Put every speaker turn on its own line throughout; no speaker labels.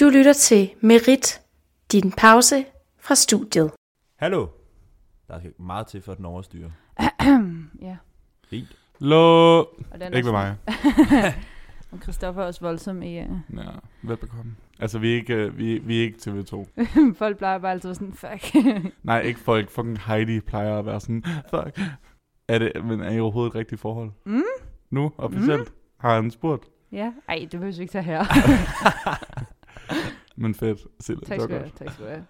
Du lytter til Merit, din pause fra studiet.
Hallo. Der skal meget til, for at den overstyrer.
ja.
Fint.
Lå.
Og den er
Ikke ved
sådan-
mig.
Og Christoffer er også voldsom i... øh,
Ja, velbekomme. Altså, vi er ikke, øh, vi, vi er ikke TV2.
Folk plejer bare altid at være sådan, fuck.
Nej, ikke folk. Fucking Heidi plejer at være sådan, fuck. Er det, men er I overhovedet et rigtigt forhold?
Mm.
Nu, officielt, mm. har han spurgt.
ja, ej, det behøver vi ikke tage her.
Men fedt, Silla,
tak
det var
skal du have,
godt.
tak skal du have.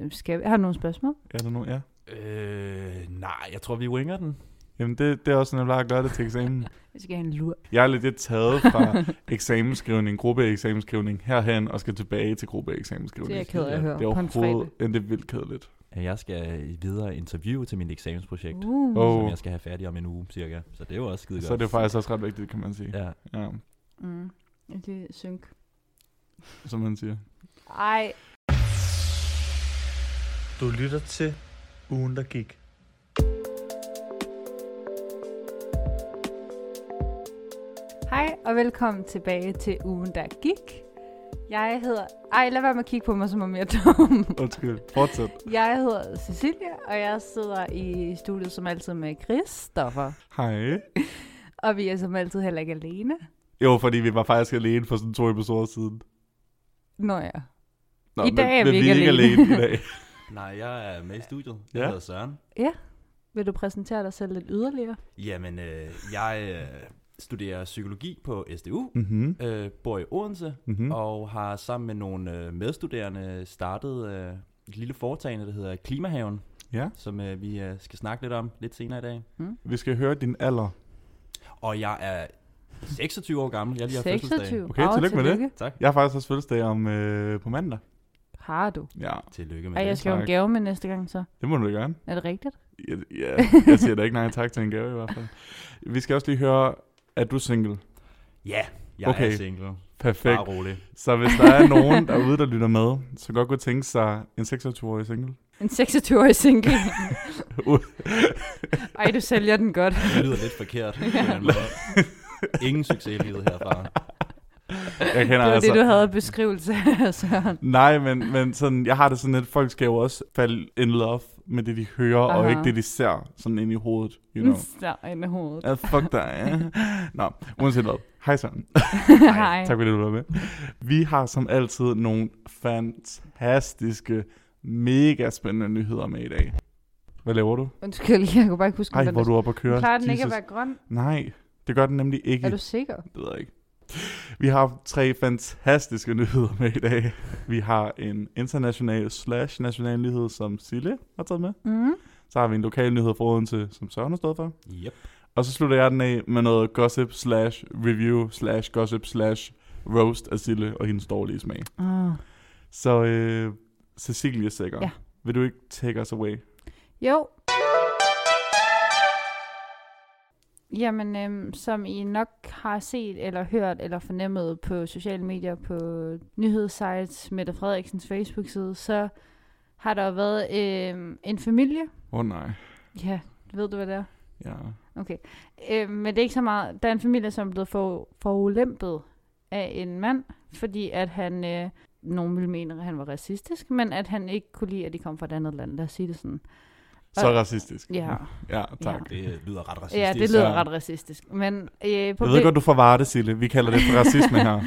Ja, skal vi... Har du nogle spørgsmål?
Er der nogen? Ja.
Øh, nej, jeg tror, vi winger den.
Jamen, det, det er også sådan, jeg plejer at gøre det til eksamen.
Vi skal have en lur.
Jeg er lidt taget fra eksamensskrivning, gruppeeksamensskrivning herhen, og skal tilbage til
Det er
gruppeeksamensskrivning.
jeg ked af at
Ja,
høre
det er
på en
overhovedet,
fredag.
ja, det er vildt kedeligt.
Jeg skal videre interviewe til mit eksamensprojekt, uh.
Uh.
Åh.
som jeg skal have færdig om en uge cirka. Så det er jo også skide godt.
Så er det faktisk også ret vigtigt, kan man sige.
Ja,
Ja,
Mm. Det er synk.
som man siger.
Ej,
Du lytter til ugen, der gik.
hej og velkommen tilbage til ugen, der gik. Jeg hedder... Ej, lad være med at kigge på mig, som om jeg er dum.
Undskyld. Fortsæt.
Jeg hedder Cecilia, og jeg sidder i studiet som altid med Christoffer.
Hej.
Og vi er som altid heller ikke alene.
Jo, fordi vi var faktisk alene for sådan to episoder siden.
Nå ja.
Nå,
I dag er vi
men
ikke
vi er
alene.
ikke alene i dag.
Nej, jeg er med i studiet. Jeg
Ja.
hedder Søren.
Vil du præsentere dig selv lidt yderligere?
Jamen, øh, jeg øh, studerer psykologi på SDU,
Mm-hmm.
øh, bor i Odense,
Mm-hmm.
mm. og har sammen med nogle øh, medstuderende startet øh, et lille foretagende, der hedder Klimahaven,
Ja.
som øh, vi øh, skal snakke lidt om lidt senere i dag.
Vi skal høre din alder.
Og jeg er 26 år gammel. Jeg lige har fødselsdag.
Okay,
Au,
tillykke med det.
Tak.
Jeg har faktisk også fødselsdag om øh, på mandag.
Har du?
Ja,
Tillykke med
Ej, jeg
det.
skal jo en
tak.
gave med næste gang, så.
det må du da gerne.
Er det rigtigt?
Ja, ja, jeg siger da ikke nej tak til en gave i hvert fald. Vi skal også lige høre, er du single?
Ja, jeg okay.
Okay.
er single.
Perfekt.
Bare rolig.
Så hvis der er nogen derude, der lytter med, så godt kunne tænke sig en 26-årig single.
En 26-årig single. Ej, du sælger den godt.
Det lyder lidt forkert. på en eller anden måde. Ingen succes i livet herfra.
Jeg
Det
kender
var
altså...
det, du havde beskrivelse af, Søren.
Nej, men, men sådan, jeg har det sådan lidt, folk skal jo også falde in love med det, de hører, Aha.
Aha. Mm.
og ikke det, de ser sådan ind i hovedet, you know.
Søren i hovedet.
Ah, fuck dig. ja. Nå, uanset hvad. Hej Søren.
Hej.
Tak fordi du var med. Vi har som altid nogle fantastiske, mega spændende nyheder med i dag. Hvad laver du?
Undskyld, jeg kunne bare ikke huske,
Ej, hvor er du oppe at køre.
Klarer den ikke at
Jesus.
være grøn?
Nej, det gør den nemlig ikke.
Er du sikker?
Det ved jeg ikke. Vi har haft tre fantastiske nyheder med i dag. Vi har en international slash national nyhed, som Sille har taget med.
Mm.
Så har vi en lokal nyhed fra Odense, som Søren har stået for.
Yep.
Og så slutter jeg den af med noget gossip slash review slash gossip slash roast af Sille og hendes dårlige smag.
Ah.
Så øh, Cecilie Sækker,
Ja.
vil du ikke take us away?
Jo. Jamen, øhm, som I nok har set eller hørt eller fornemmet på sociale medier, på nyhedssites, Mette Frederiksens Facebook-side, så har der jo været øhm, en familie.
Åh oh, nej.
Ja, ved du, hvad det er?
Ja.
Øhm, men det er ikke så meget. Der er en familie, som er blevet for, forulæmpet af en mand, fordi at han, øh, nogen ville mene, at han var racistisk, men at han ikke kunne lide, at de kom fra et andet land. Lad os sige det sådan.
Så
Og-
racistisk.
Ja.
Ja, tak.
Det øh, lyder ret racistisk.
Ja, det lyder
Ja.
ret racistisk. Men, øh, på
Jeg ved godt, du får Varde, Sille. Vi kalder det for racisme her.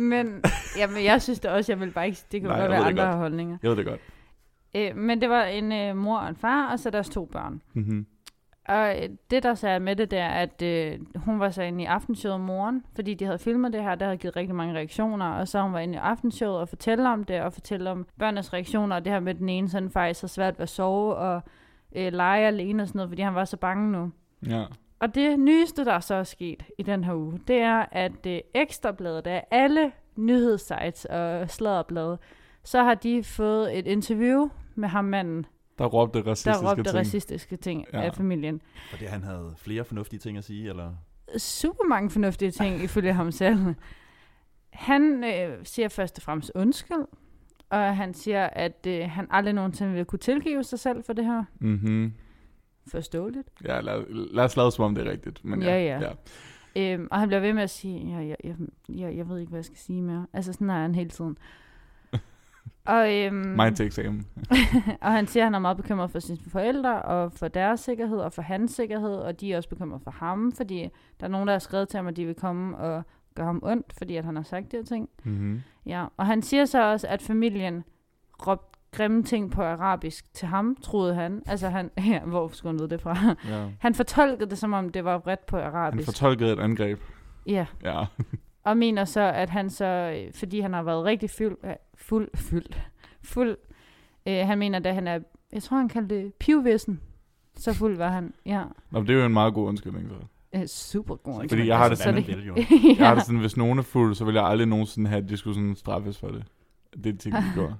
men jamen, jeg synes det også, jeg vil bare ikke... Det kan
Nej,
Nej, godt
jeg
være
ved det
andre
godt.
holdninger.
Jeg ved det godt.
Øh, men det var en øh, mor og en far, og så deres to børn.
Mm-hmm.
Og øh, det, der så er med det, der, at øh, hun var så inde i aftenshowet om morgenen, fordi de havde filmet det her, der havde givet rigtig mange reaktioner, og så hun var inde i aftenshowet og fortælle om det, og fortælle om børnenes reaktioner, og det her med at den ene sådan faktisk har svært ved at sove, og øh, lege alene og sådan noget, fordi han var så bange nu.
Ja.
Og det nyeste, der så er sket i den her uge, det er, at øh, Ekstrabladet af alle nyhedssites og sladderblade, så har de fået et interview med ham manden,
Der råbte racistiske
der råbte
ting.
racistiske ting ja.
Ja.
af familien.
Fordi han havde flere fornuftige ting at sige, eller?
Super mange fornuftige ting, ifølge ham selv. Han øh, siger først og fremmest undskyld, og han siger, at øh, han aldrig nogensinde vil kunne tilgive sig selv for det her.
Mm-hmm.
Forståeligt.
Ja, lad, lad os lade som om det er rigtigt. Men ja,
Ja, ja. Øhm, og han bliver ved med at sige, jeg, jeg, jeg, jeg, jeg ved ikke, hvad jeg skal sige mere. Altså sådan er han hele tiden. og, øhm,
Mig til eksamen.
og han siger, at han er meget bekymret for sine forældre, og for deres sikkerhed, og for hans sikkerhed, og de er også bekymret for ham, fordi der er nogen, der har skrevet til ham, at de vil komme og gøre ham ondt, fordi at han har sagt de her ting.
Mm-hmm.
Ja, og han siger så også, at familien råbte grimme ting på arabisk til ham, troede han. Altså han, ja, hvor skulle han vide det fra?
Ja.
Han fortolkede det, som om det var vredt på
Han
arabisk.
fortolkede et angreb.
ja,
Ja.
og mener så, at han så, øh, fordi han har været rigtig fyld, øh, fuld, fuld, fuld, øh, han mener, at han er, jeg tror, han kaldte det pivvissen. Så fuld var han, ja.
Nå, men det er jo en meget god undskyldning. Så.
Øh, super god.
Fordi jeg har det
sådan-
Vil, jo.
Jeg har det sådan, hvis nogen er fuld, så vil jeg aldrig nogensinde have, at de skulle sådan straffes for det. Det er ting, de gjorde.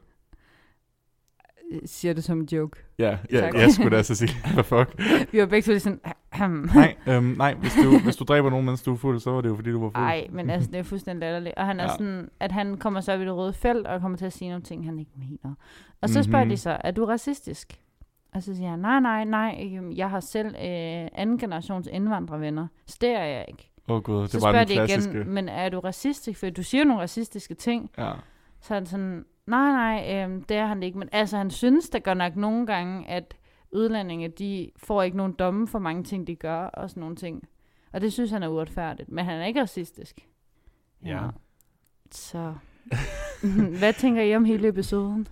siger det som en joke.
Ja, ja
Tak.
jeg skulle da så sige, hvad fuck.
Vi var begge to lige sådan, ahem.
Nej, øhm, nej hvis, du, hvis du dræber nogen, mens du er fuld, så var det jo, fordi du var fuld.
Ej, men altså, det er fuldstændig latterligt. Og han er
Ja.
ja. sådan, at han kommer så op i det røde felt, og kommer til at sige nogle ting, han ikke mener. Og så spørger
Mhm.
mm-hmm. de så, er du racistisk? Og så siger han, nej, nej, nej, øhm, jeg har selv øh, anden generations indvandrervenner. Så det er jeg ikke.
Åh oh, gud, det
så
var
spørger
den klassiske.
igen, men er du racistisk? For du siger nogle racistiske ting.
Ja.
Så er han sådan, nej, nej, øhm, det er han ikke. Men altså, han synes da godt nok nogle gange, at udlændinge, de får ikke nogen domme for mange ting, de gør, og sådan nogle ting. Og det synes han er uretfærdigt. Men han er ikke racistisk.
Ja.
Så, hvad tænker I om hele episoden?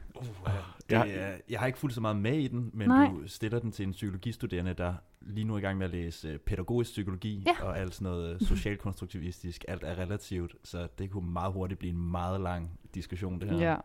Det,
Ja.
er, jeg har ikke fuldt så meget med i den, men
Nej.
Nej. du stiller den til en psykologistuderende, der lige nu er i gang med at læse øh, pædagogisk psykologi
Ja.
ja. og alt sådan noget øh, socialkonstruktivistisk. Alt er relativt, så det kunne meget hurtigt blive en meget lang diskussion, det her.
Ja.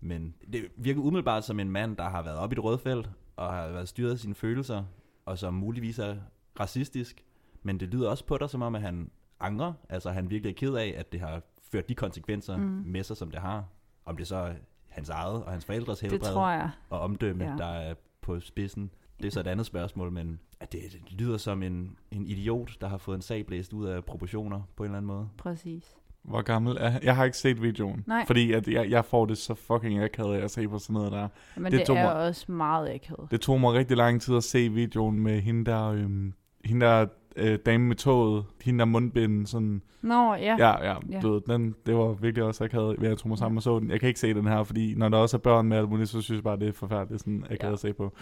Men det virker umiddelbart som en mand, der har været op i det røde felt, og har været styret af sine følelser, og som muligvis er racistisk. Men det lyder også på dig, som om at han angrer. Altså han virkelig er ked af, at det har ført de konsekvenser
Mm.
mm. med sig, som det har. Om det så er hans eget og hans forældres helbred
Det tror jeg.
og omdømme,
Ja.
ja. der er på spidsen. Det er så et andet spørgsmål, men at det det lyder som en, en idiot, der har fået en sag blæst ud af proportioner på en eller anden måde.
Præcis.
Hvor gammel er han? Jeg har ikke set videoen.
Nej.
Fordi at jeg, jeg får det så fucking akavet af at se på sådan noget der.
Men
Det
det,
tog
det er
mig-
også meget akavet.
Det tog mig rigtig lang tid at se videoen med hende der, øhm, hende der øh, dame med toget, hende der mundbinden, sådan,
Nå, ja.
ja, ja, ja.
Ja.
Du ved, den, det var virkelig også akavet, ved jeg tog mig sammen og så den. Jeg kan ikke se den her, fordi når der også er børn med alt muligt, så synes jeg bare, det er forfærdeligt sådan akavet ja.
Ja.
at se på.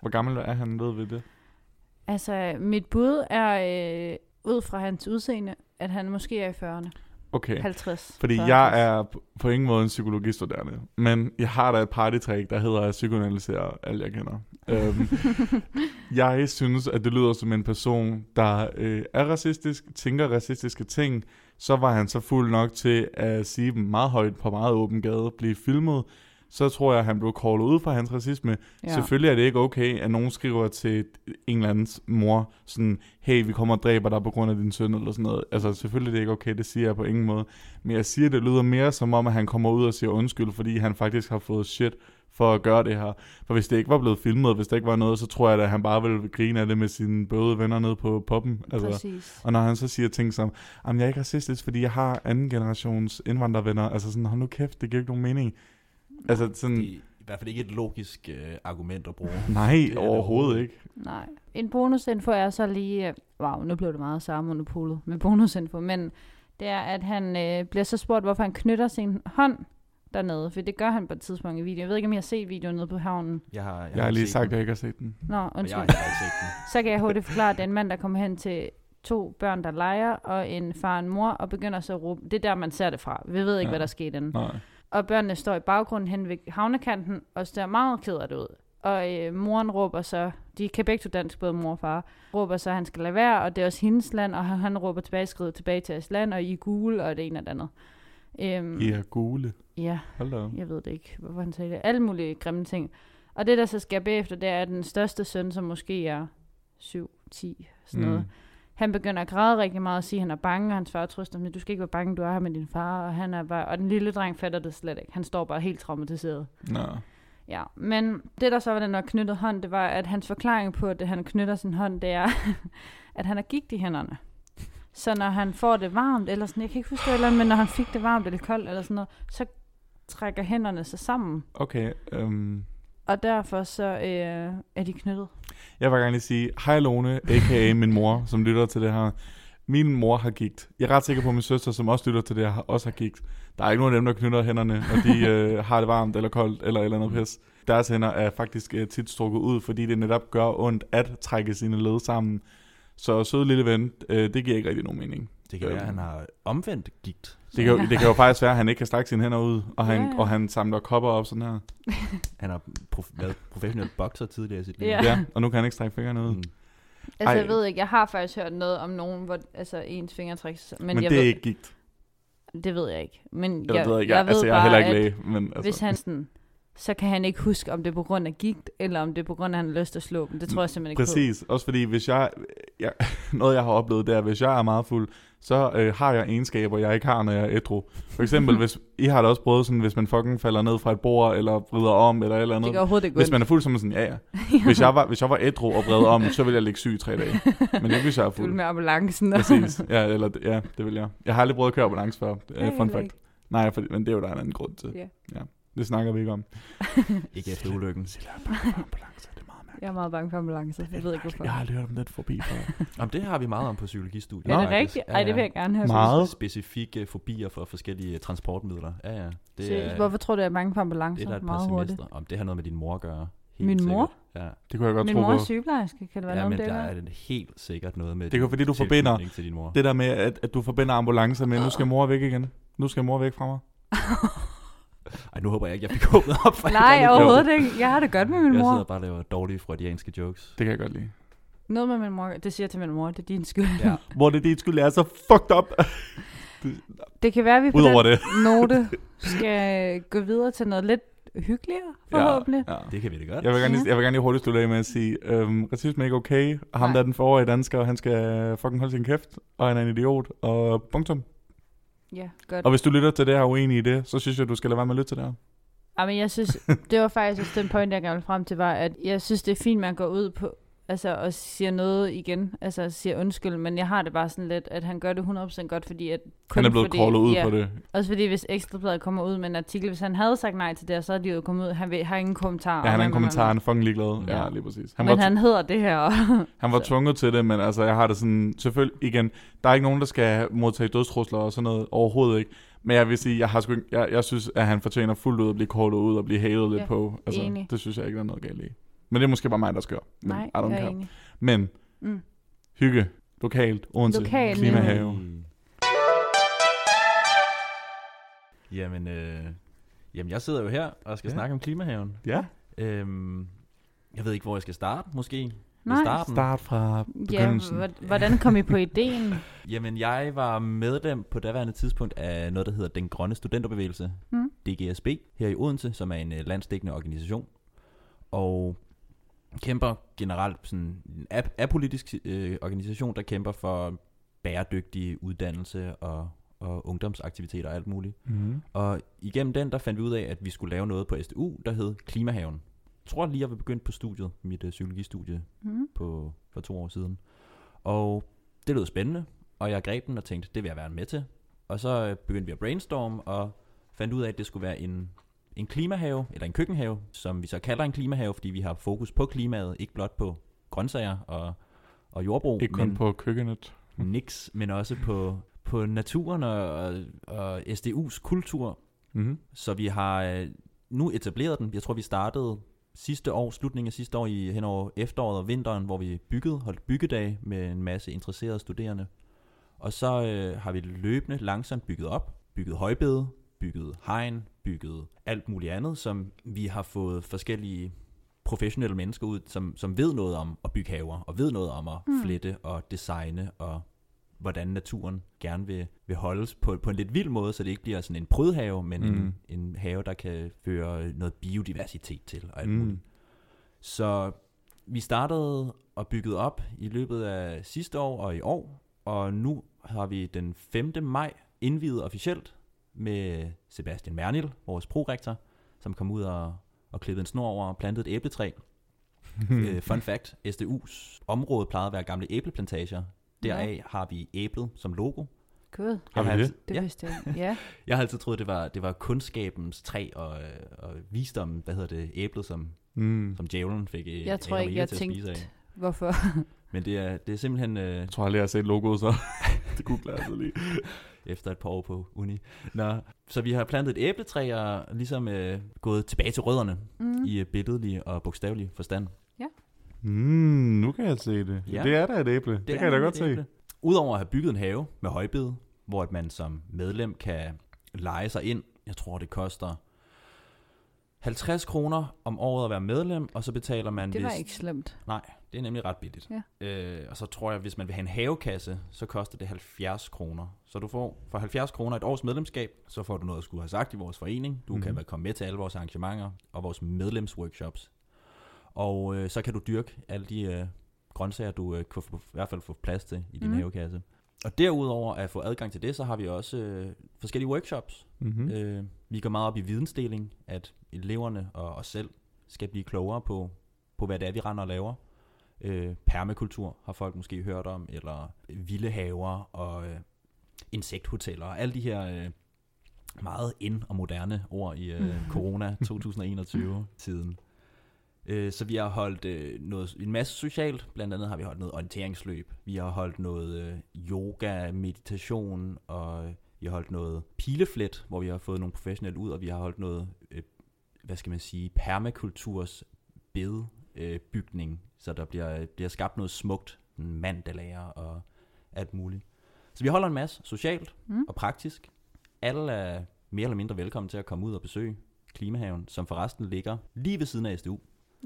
Hvor gammel er han, ved ved det?
Altså, mit bud er, øh, ud fra hans udseende, at han måske er i 40'erne.
Okay.
50.
Fordi
50.
jeg er på- på ingen måde en psykologistuderende, men jeg har da et partytrick, der hedder at psykoanalysere alt, jeg kender. Øhm, jeg synes, at det lyder som en person, der øh, er racistisk, tænker racistiske ting, så var han så fuld nok til at sige dem meget højt på meget åben gade, blive filmet, så tror jeg, at han blev callet ud for hans racisme. Ja. Selvfølgelig er det ikke okay, at nogen skriver til en eller andens mor, sådan, hey, vi kommer og dræber dig på grund af din søn, eller sådan noget. Altså, selvfølgelig er det ikke okay, det siger jeg på ingen måde. Men jeg siger, det lyder mere som om, at han kommer ud og siger undskyld, fordi han faktisk har fået shit for at gøre det her. For hvis det ikke var blevet filmet, hvis det ikke var noget, så tror jeg da, at han bare ville grine af det med sine bøde venner nede på poppen. Altså,
Præcis.
og når han så siger ting som, at jeg er ikke racistisk, fordi jeg har anden generations indvandrervenner, altså sådan, hold nu kæft, det giver ikke nogen mening. Altså sådan,
Det er i hvert fald ikke et logisk øh, argument at bruge.
nej,
det
overhovedet
overhovedet
ikke.
Nej. En bonusinfo er så lige... øh, Wow, nu blev det meget samme monopolet med bonusinfo, men det er, at han øh, bliver så spurgt, hvorfor han knytter sin hånd dernede, for det gør han på et tidspunkt i videoen. Jeg ved ikke, om I har set videoen nede på havnen.
Jeg har, jeg
Jeg har lige
ikke set
sagt, at
den,
jeg ikke har set den.
Nå,
og jeg
undskyld.
har heller ikke set den.
Så kan jeg hurtigt forklare, at det er en mand, der kommer hen til to børn, der leger, og en far og en mor, og begynder så at råbe. Det er der, man ser det fra. Vi ved ikke, ja.
Ja.
hvad der skete inden.
Nej.
Og børnene står i baggrunden hen ved havnekanten og ser meget ked af det ud. Og øh, moren råber så, de kan begge to dansk, både mor og far, råber så, at han skal lade være, og det er også hendes land, og han, han råber tilbage, skridt tilbage til hans land, og I er gule, og det ene og det andet. Øhm,
I er gule.
Ja,
Hold da. op.
jeg ved det ikke, hvorfor han sagde det. Alle mulige grimme ting. Og det, der så sker bagefter, det er, at den største søn, som måske er 7, 10, sådan noget,
Mm.
han begynder at græde rigtig meget og sige, at han er bange, og hans far trøster ham, du skal ikke være bange, du er her med din far, og, han er bare, og den lille dreng fatter det slet ikke. Han står bare helt traumatiseret.
Mm. Nå.
Ja, men det der så var den der knyttede hånd, det var, at hans forklaring på, at han knytter sin hånd, det er, at han har gigt i hænderne. Så når han får det varmt, eller sådan, jeg kan ikke huske det eller andet, men når han fik det varmt eller koldt, eller sådan noget, så trækker hænderne sig sammen,
Okay, øhm,
og derfor så øh, er de knyttet.
jeg vil gerne lige sige, hej Lone, a.k.a. min mor, som lytter til det her. Min mor har gigt. Jeg er ret sikker på, at min søster, som også lytter til det her, har- også har gigt. Der er ikke nogen af dem, der knytter hænderne, og de øh, har det varmt eller koldt eller et eller andet pis. Deres hænder er faktisk øh, tit strukket ud, fordi det netop gør ondt at trække sine led sammen. Så søde lille ven, øh, det giver ikke rigtig nogen mening.
Det kan
Øhm.
være, at han har omvendt gigt.
Det kan, jo, det kan jo faktisk være, at han ikke kan strække sine hænder ud, og han,
Ja, ja.
og han samler kopper op sådan her.
Han har prof- været professionel bokser tidligere i sit liv.
Ja.
Ja, og nu kan han ikke strække fingrene ud.
Mm.
Altså,
Ej.
jeg ved ikke, jeg har faktisk hørt noget om nogen, hvor altså, ens fingertræks... Men,
Men,
jeg
det er
ved,
ikke gigt.
det ved jeg ikke. Men
Eller
jeg,
det ved jeg ikke.
jeg, ved
altså, jeg er
bare,
heller ikke
at
læge. Men, altså.
hvis han sådan, så kan han ikke huske, om det er på grund af gigt, eller om det er på grund af, at han har lyst til at slå dem. Det tror jeg simpelthen ikke på.
Præcis, også fordi hvis jeg, jeg, noget jeg har oplevet, det er, at hvis jeg er meget fuld, så øh, har jeg egenskaber, jeg ikke har, når jeg er ædru. For eksempel, hvis, I har da også prøvet sådan, hvis man fucking falder ned fra et bord, eller vrider om, eller et eller
Det
andet.
kan overhovedet ikke
Hvis
ondt.
man er fuld, så er man sådan, ja ja. Hvis jeg var, hvis jeg var ædru og vred om, så ville jeg ligge syg i tre dage. Men ikke, hvis jeg er
Du vil
fuld.
med ambulancen. og-
Præcis, ja, eller, ja, det vil jeg. Jeg har aldrig prøvet at køre ambulance før,
jeg
uh, fun
heller
fact.
ikke.
Nej, for, men det er jo der en anden grund til.
Ja.
ja. Det snakker vi ikke om.
Ikke efter ulykken.
Ambulancer, det er meget mærkeligt.
Jeg er meget bange for ambulancer. Jeg ved ikke, hvorfor.
Jeg har aldrig hørt om den forbi før.
Om det har vi meget om på psykologistudiet.
Er det
faktisk.
rigtigt?
Ja,
Ej, det vil
ja.
jeg gerne høre.
Meget.
Specifikke fobier for forskellige øh, transportmidler. Ja, ja. Det
Seriøst,
er,
hvorfor tror du, jeg er bange
det er
for ambulancer?
der et par
meget hurtigt.
semestre. Om det har noget med din mor at gøre.
Min mor?
Ja.
Det kunne jeg godt
Min
tro
mor
på.
er sygeplejerske. Kan det være
ja, men
noget om
der
det?
er
eller?
det helt sikkert noget med
Det er jo
din
fordi, du
tilknytning
forbinder
til din mor.
det der med, at, at du forbinder ambulancer med, nu skal mor væk igen. Nu skal mor væk fra mig.
Ej, nu håber jeg ikke, jeg fik åbnet op for
Nej,
alt andet.
overhovedet ikke. Jeg har det godt med min
Jeg
mor.
sidder bare og laver dårlige freudianske jokes.
Det kan jeg godt lide.
Noget med min mor. Det siger jeg til min mor. Det er din skyld.
Ja.
Hvor det er dit skyld, jeg er så fucked up.
Det kan være, at vi på
Udover
den
det.
note skal gå videre til noget lidt hyggeligere, forhåbentlig.
Ja.
Det kan vi da godt.
Jeg vil, gerne lige,
Ja.
jeg vil gerne lige hurtigt slutte af med at sige, øhm, racisme er ikke okay, og ham
Nej.
der er den forårige dansker, han skal fucking holde sin kæft, og han er en idiot, og punktum.
Ja, ja godt.
Og hvis du lytter til det her og er uenig i det, så synes jeg, du skal lade være med at lytte til det her.
Ja, men jeg synes, det var faktisk også den point, jeg gerne ville frem til, var, at jeg synes, det er fint, man går ud på, altså, og siger noget igen, altså siger undskyld, men jeg har det bare sådan lidt, at han gør det 100% godt, fordi at...
Han
kun
er blevet
fordi-
crawlet ud
ja,
på det.
Også fordi, hvis Ekstrabladet kommer ud med en artikel, hvis han havde sagt nej til det, så havde de jo kommet ud, han vil, har ingen kommentar.
Ja, han er en
og-
kommentar, han er fucking ligeglad. Ja,
Ja.
lige præcis.
Men
var
han hedder det her, og
Han var
Så-
tvunget til det, men altså, jeg har det sådan, selvfølgelig, igen, der er ikke nogen, der skal modtage dødstrusler og sådan noget, overhovedet ikke. Men jeg vil sige, jeg, har sgu, ikke- jeg, jeg synes, at han fortjener fuldt ud at blive kortet ud og blive hatet lidt
Ja,
på. Altså,
enig.
det synes jeg ikke, der er noget galt i. Men det er måske bare mig, der skør. Men
nej,
I don't
jeg er
care.
enig.
Men
Mm.
hygge, lokalt, Odense,
Lokalt, Mm.
klimahave.
Jamen, øh, jamen, jeg sidder jo her og skal
Ja.
ja. snakke om klimahaven.
Ja,
Øhm, jeg ved ikke, hvor jeg skal starte, måske. Med
Nej.
starten.
start fra
Ja,
begyndelsen. Ja,
hvor- hvordan kom I på ideen?
Jamen, jeg var medlem på daværende tidspunkt af noget, der hedder Den Grønne Studenterbevægelse,
Mm.
mm. DGSB, her i Odense, som er en øh, landsdækkende organisation, og kæmper generelt sådan en ap- apolitisk øh, organisation, der kæmper for bæredygtig uddannelse og, og ungdomsaktiviteter og alt muligt.
mm-hmm.
Og igennem den, der fandt vi ud af, at vi skulle lave noget på SDU, der hed Klimahaven. Jeg tror lige, jeg var begyndt på studiet, mit øh, psykologistudie
Mm.
på, for to år siden. Og det lød spændende, og jeg greb den og tænkte, det vil jeg være med til. Og så øh, begyndte vi at brainstorme, og fandt ud af, at det skulle være en, en klimahave, eller en køkkenhave, som vi så kalder en klimahave, fordi vi har fokus på klimaet, ikke blot på grøntsager og, og jordbrug.
Ikke kun
men-
på køkkenet.
Nix, men også på, på naturen og, og, og SDU's kultur.
Mm-hmm.
Så vi har øh, nu etableret den. Jeg tror, vi startede sidste år, slutningen af sidste år, i, hen over efteråret og vinteren, hvor vi byggede, holdt byggedag med en masse interesserede studerende. Og så øh, har vi løbende langsomt bygget op, bygget højbede, bygget hegn, bygget alt muligt andet, som vi har fået forskellige professionelle mennesker ud, som, som ved noget om at bygge haver, og ved noget om at
Mm.
flette og designe, og hvordan naturen gerne vil, vil holdes på, på en lidt vild måde, så det ikke bliver sådan en prydhave, men mm.
Mm.
en, en have, der kan føre noget biodiversitet til, og alt mm.
Mm.
muligt. Så vi startede og byggede op i løbet af sidste år og i år, og nu har vi den 5. maj indvidet officielt med Sebastian Mernil, vores prorektor, som kom ud og, og klippede en snor over og plantede et æbletræ.
Mm.
øh, fun fact, SDU's område plejede at være gamle æbleplantager. Deraf har vi æblet som logo.
Gud,
Har vi
Jeg
det?
altid-
det
Ja,
vidste jeg ikke. Ja,
jeg har altid troet, det var, det var kundskabens træ og, øh, og visdommen, hvad hedder det, æblet, som,
Mm.
som djævlen fik øh,
jeg tror
Adam og
ikke,
Eva
jeg
til at spise
tænkte
af.
Hvorfor?
Men det er, det er simpelthen øh,
Jeg tror aldrig, jeg har set logoet, så det kunne jeg altså lige.
efter et par år på uni. Nå, så vi har plantet et æbletræ og ligesom øh, gået tilbage til rødderne
Mm.
mm. i øh, billedlig og bogstavelig forstand.
Mm, nu kan jeg se det. Ja.
Ja.
Det er da et æble. Det, det kan jeg da godt se.
Udover at have bygget en have med højbede, hvor at man som medlem kan lege sig ind. Jeg tror, det koster 50 kroner om året at være medlem, og så betaler man...
Det var
vist-
ikke slemt.
Det er nemlig ret billigt.
Ja.
Øh, og så tror jeg, hvis man vil have en havekasse, så koster det 70 kroner. Så du får for 70 kroner et års medlemskab, så får du noget at skulle have sagt i vores forening. Du mm-hmm. kan
Mhm.
være- komme med til alle vores arrangementer og vores medlemsworkshops. Og øh, så kan du dyrke alle de øh, grøntsager, du øh, kan få, i hvert fald få plads til i din
Mhm.
mm. havekasse. Og derudover at få adgang til det, så har vi også øh, forskellige workshops,
Mm-hmm.
Øh, vi går meget op i vidensdeling, at eleverne og os selv skal blive klogere på, på hvad det er, vi render og laver. Øh, permakultur har folk måske hørt om, eller vilde haver og øh, insekthoteller, og alle de her øh, meget ind- og moderne ord i øh, corona 2021-tiden. Øh, så vi har holdt øh, noget, en masse socialt, blandt andet har vi holdt noget orienteringsløb, vi har holdt noget øh, yoga, meditation, og øh, vi har holdt noget pileflet, hvor vi har fået nogle professionelle ud, og vi har holdt noget, øh, hvad skal man sige, permakulturs bedbygning, øh, bygning, så der bliver, bliver skabt noget smukt, sådan mandalager og alt muligt. Så vi holder en masse socialt
Mm.
mm. og praktisk. Alle er mere eller mindre velkommen til at komme ud og besøge Klimahaven, som forresten ligger lige ved siden af SDU.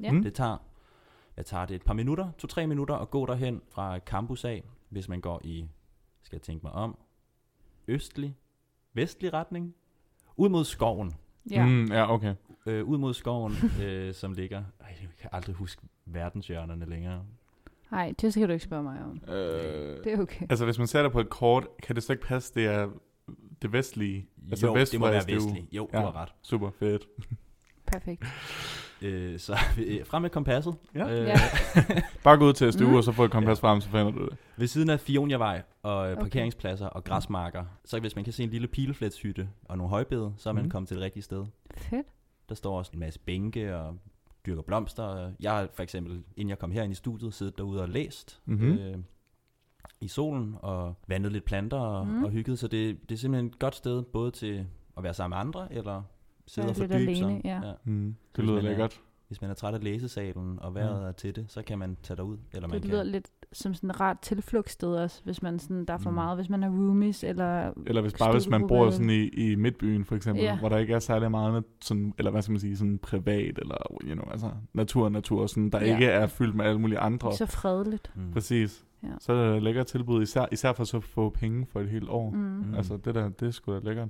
Ja.
Mm.
Det tager, hvad tager det, et par minutter, to-tre minutter at gå derhen fra campus af, hvis man går i, skal jeg tænke mig om, østlig, vestlig retning, ud mod skoven.
Ja. Mm.
Mm, ja, okay.
Øh, ud mod skoven, øh, som ligger, ej, jeg kan aldrig huske verdenshjørnerne længere.
Nej, det skal du ikke spørge mig om.
Øh,
Det er okay.
Altså, hvis man ser det på et kort, kan det så ikke passe, det er det vestlige? Altså,
jo,
vest
det må
for
være
SDU.
vestlig. Jo, ja.
Ja.
du har ret.
Super fedt.
Perfekt.
Øh, så øh, frem med kompasset.
Ja.
Øh,
Ja.
Bare gå ud til SDU,
Mm.
mm. og så få et kompas frem, så finder du det.
Ved siden af Fionjavej og øh,
Okay.
parkeringspladser og græsmarker, så hvis man kan se en lille pileflætshytte og nogle højbede, så er man
Mhm.
mm. kommet til det rigtige sted.
Fedt.
Der står også en masse bænke og dyrker blomster. og Jeg har for eksempel, inden jeg kom herind i studiet, siddet derude og læst
Mhm.
mm-hmm. øh, i solen og vandet lidt planter og,
Mhm.
mm. og hygget. Så det, det er simpelthen et godt sted både til at være sammen med andre eller sidde
Være
og
lidt
fordybe sig.
alene, ja.
Mm. Det
Hvis
lyder
man er-
lækkert.
Hvis man er træt af læsesalen og vejret mm. er til det, så kan man tage derud. Eller man
Det lyder
kan.
lidt som sådan et rart tilflugtssted også, hvis man sådan, der er for
Mm.
meget, hvis man har roomies, eller
Eller hvis bare hvis man
Studiegruppe.
bor sådan i, i midtbyen, for eksempel,
Ja.
yeah. hvor der ikke er særlig meget, nat- sådan, eller hvad skal man sige, sådan privat, eller you know, altså natur, natur, sådan, der
Ja.
yeah. ikke er fyldt med alle mulige andre.
så fredeligt.
Mm.
Præcis.
Ja.
Så er det et lækkert tilbud, især, især for så at få penge for et helt år. Mm.
Mm.
Mm.
Altså, det der, det er sgu da lækkert.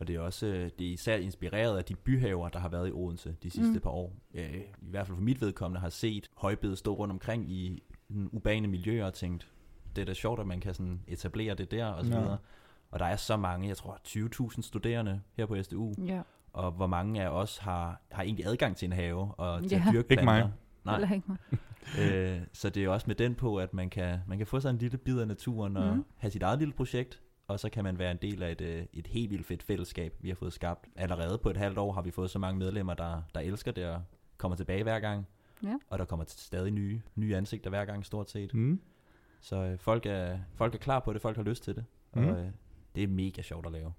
Og det er også øh, det er især inspireret af de byhaver, der har været i Odense de sidste
Mm.
mm. par år. Øh, I hvert fald for mit vedkommende har set højbede stå rundt omkring i den urbane miljøer og tænkt, det er da sjovt, at man kan sådan etablere det der og så
Ja.
videre. Og der er så mange, jeg tror 20.000 studerende her på SDU,
Ja,
og hvor mange af os har, har egentlig adgang til en have og til
Ja.
at dyrke
Ikke mig.
planter. Nej,
eller ikke mig.
øh, så det er jo også med den på, at man kan, man kan få sig en lille bid af naturen og
Mhm.
mm. have sit eget lille projekt, og så kan man være en del af et, øh, et helt vildt fedt fællesskab, vi har fået skabt. Allerede på et halvt år har vi fået så mange medlemmer, der, der elsker det og kommer tilbage hver gang.
Ja.
Og der kommer stadig nye, nye ansigter hver gang, stort set.
Mm.
Så øh, folk, er, folk er klar på det, folk har lyst til det. Og,
Mhm.
øh, det er mega sjovt at lave.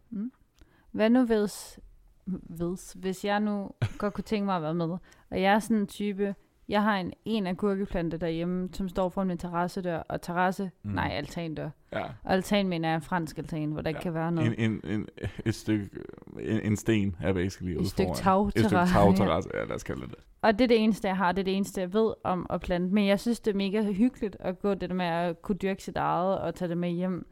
Hvad nu hvis, hvis, hvis jeg nu godt kunne tænke mig at være med, og jeg er sådan en type, jeg har en en agurkeplante derhjemme, som står foran min terrassedør, og terrasse, mm.
Mm.
nej, altandør.
Ja.
Og altan mener jeg er en fransk altan, hvor der ja. ikke
Ja.
kan være noget.
En, en, en, et stykke, en, en sten er basically ude
Et stykke
foran. Et stykke
tagterrasse.
tagterrasse. Ja, lad os kalde det det.
Og det er det eneste, jeg har, det er det eneste, jeg ved om at plante. Men jeg synes, det er mega hyggeligt at gå det der med at kunne dyrke sit eget og tage det med hjem.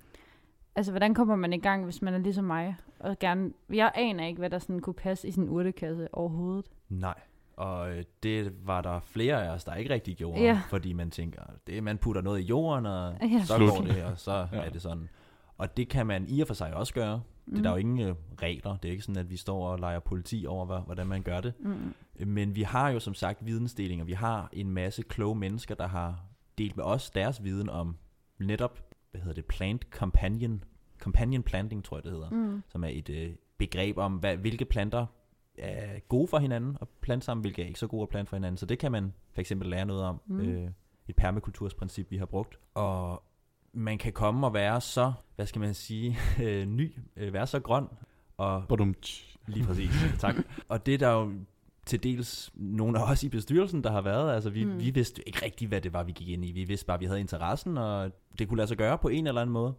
Altså, hvordan kommer man i gang, hvis man er ligesom mig? Og gerne, jeg aner ikke, hvad der sådan kunne passe i sin urtekasse overhovedet.
Nej. Og øh, det var der flere af os, der ikke rigtig gjorde,
Ja.
fordi man tænker, det, man putter noget i jorden, og
Ja.
så
Slut.
går det, og så ja.
Ja.
er det sådan. Og det kan man i og for sig også gøre. Det, mm. Der er jo ingen øh, regler. Det er ikke sådan, at vi står og leger politi over, hva- hvordan man gør det. Øh,
Mm.
Men vi har jo som sagt vidensdeling, og vi har en masse kloge mennesker, der har delt med os deres viden om netop, hvad hedder det, plant companion, companion planting, tror jeg det hedder
Mm.
som er et øh, begreb om, hvad, hvilke planter er gode for hinanden at plante sammen, hvilke er ikke så gode at plante for hinanden. Så det kan man for eksempel lære noget om
Mm.
mm. øh, et permakultursprincip, vi har brugt. Og man kan komme og være så, hvad skal man sige, øh, ny, øh, være så grøn, og
Badum.
Lige præcis, tak. Og det er der jo til dels nogle af os i bestyrelsen, der har været. Altså, vi,
Mm.
mm. vi vidste ikke rigtigt, hvad det var, vi gik ind i. Vi vidste bare, at vi havde interessen, og det kunne lade sig gøre på en eller anden måde.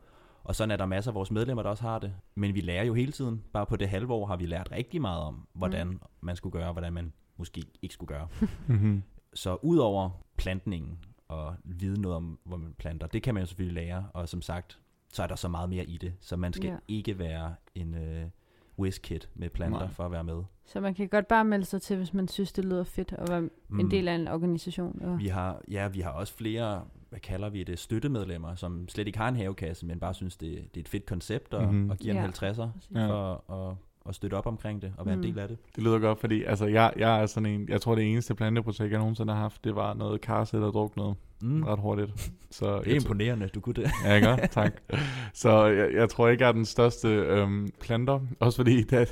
Og sådan er der masser af vores medlemmer, der også har det. Men vi lærer jo hele tiden. Bare på det halve år har vi lært rigtig meget om, hvordan mm. man skulle gøre, og hvordan man måske ikke skulle gøre.
Mm-hmm.
Så udover plantningen og vide noget om, hvor man planter, det kan man jo selvfølgelig lære, og som sagt, så er der så meget mere i det, så man skal
Ja.
ja. ikke være en øh, whiz-kid med planter
Nej.
Nej. for at være med.
Så man kan godt bare melde sig til, hvis man synes, det lyder fedt at være mm. en del af en organisation. Og...
Mm, Vi har, ja, vi har også flere, hvad kalder vi det, støttemedlemmer, som slet ikke har en havekasse, men bare synes, det, det er et fedt koncept, og,
Mhm.
mm-hmm. og giver
Ja.
en 50'er
Ja.
for at, at, at støtte op omkring det, og være mm.
Mm.
en del af det.
Det lyder godt, fordi altså, jeg, jeg er sådan en, jeg tror det eneste planteprojekt, jeg nogensinde har haft, det var noget karse, der druknede noget
Mm.
ret hurtigt. Så
Det er
jeg tror-
imponerende, du kunne det.
Ja, ikke? også? Tak. Så jeg, jeg tror ikke, jeg er den største øhm, planter. Også fordi da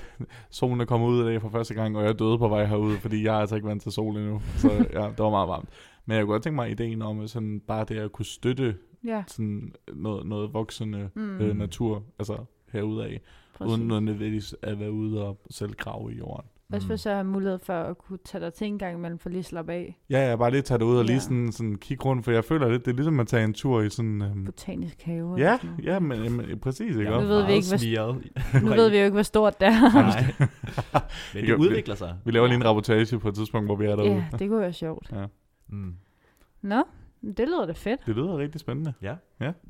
solen er kommet ud af det for første gang, og jeg er døde på vej herude, fordi jeg er altså ikke vant til sol endnu. Så ja, det var meget varmt. Men jeg kunne godt tænke mig ideen om sådan bare det at kunne støtte
Ja,
sådan noget, noget voksende
mm.
øh, natur, altså herude af,
præcis.
uden nødvendigvis at være ude og selv grave i jorden.
Også hvis
Mm.
jeg har mulighed for at kunne tage dig til en gang imellem, for lige at slappe af.
Ja, jeg bare lige tage det ud og lige
Ja.
sådan, sådan kigge rundt, for jeg føler lidt, det er ligesom at tage en tur i sådan...
Mm.
Øhm,
Botanisk have. eller
ja,
sådan noget.
ja, men, men præcis, ikke?
Jeg
også?
er
Nu ved vi
meget
ikke, hvad-
smiret.
Nu ved vi jo ikke, hvor stort det er.
Nej. Men det udvikler sig.
Vi laver lige en rapportage på et tidspunkt, hvor vi er derude.
ja, det kunne være sjovt.
Mm.
Nå, det lyder da fedt.
Det lyder rigtig spændende.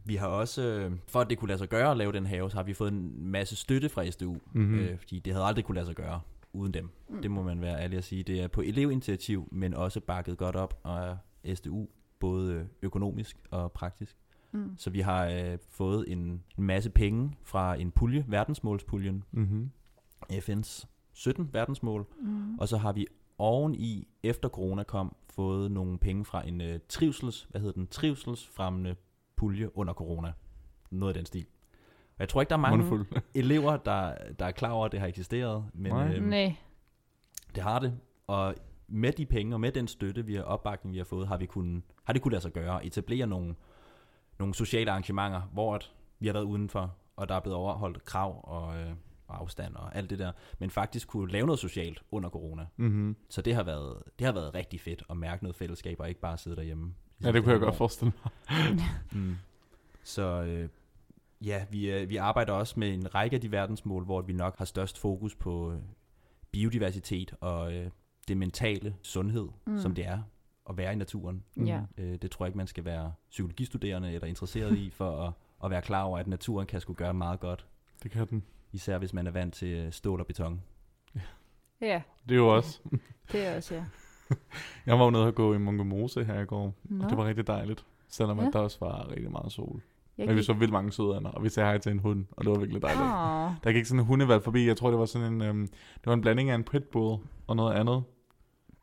Vi har også, øh, for at det kunne lade sig gøre at lave den have, så har vi fået en masse støtte fra SDU,
Mm-hmm.
mm. øh, fordi det havde aldrig kunne lade sig gøre uden dem.
Mm.
Det må man være ærlig at sige. Det er på elevinitiativ, men også bakket godt op af SDU, både økonomisk og praktisk.
Mm.
Så vi har øh, fået en, en masse penge fra en pulje, verdensmålspuljen,
Mm-hmm.
FN's 17 verdensmål,
Mm.
og så har vi oveni, efter corona kom, fået nogle penge fra en øh, trivsels, hvad hedder den, trivselsfremmende pulje under corona. Noget af den stil. Og jeg tror ikke, der er mange
Mundfuld.
elever, der, der er klar over, at det har eksisteret, men
Nej.
øhm,
Nej,
det har det, og med de penge og med den støtte, vi har opbakning, vi har fået, har, vi kunnet, har det kunnet lade sig gøre at etablere nogle, nogle sociale arrangementer, hvor at vi har været udenfor, og der er blevet overholdt krav og, øh, og afstand og alt det der, men faktisk kunne lave noget socialt under corona.
Mm-hmm.
Så det har været, det har været rigtig fedt at mærke noget fællesskab og ikke bare sidde derhjemme.
Ja, det kunne jeg godt forestille mig.
Mm. Så øh, ja, vi, øh, vi arbejder også med en række af de verdensmål, hvor vi nok har størst fokus på øh, biodiversitet og øh, det mentale sundhed,
Mm.
mm. som det er at være i naturen.
mm.
ja.
Øh, det tror jeg ikke, man skal være psykologistuderende eller interesseret i, for at, at være klar over, at naturen kan skulle gøre meget godt.
Det kan den.
Især hvis man er vant til øh, stål og beton.
Ja,
Det er jo også.
det er også, ja.
Jeg var jo nede og gå i Mungemose her i går, og
Nå,
det var rigtig dejligt. Selvom
Ja.
ja. der også var rigtig meget sol.
jeg
Men vi så vildt mange søde andre, og vi sagde hej til en hund, og det var virkelig dejligt.
Åh,
Der gik sådan en hundevalg forbi. Jeg tror, det var sådan en, øhm, det var en blanding af en pitbull og noget andet.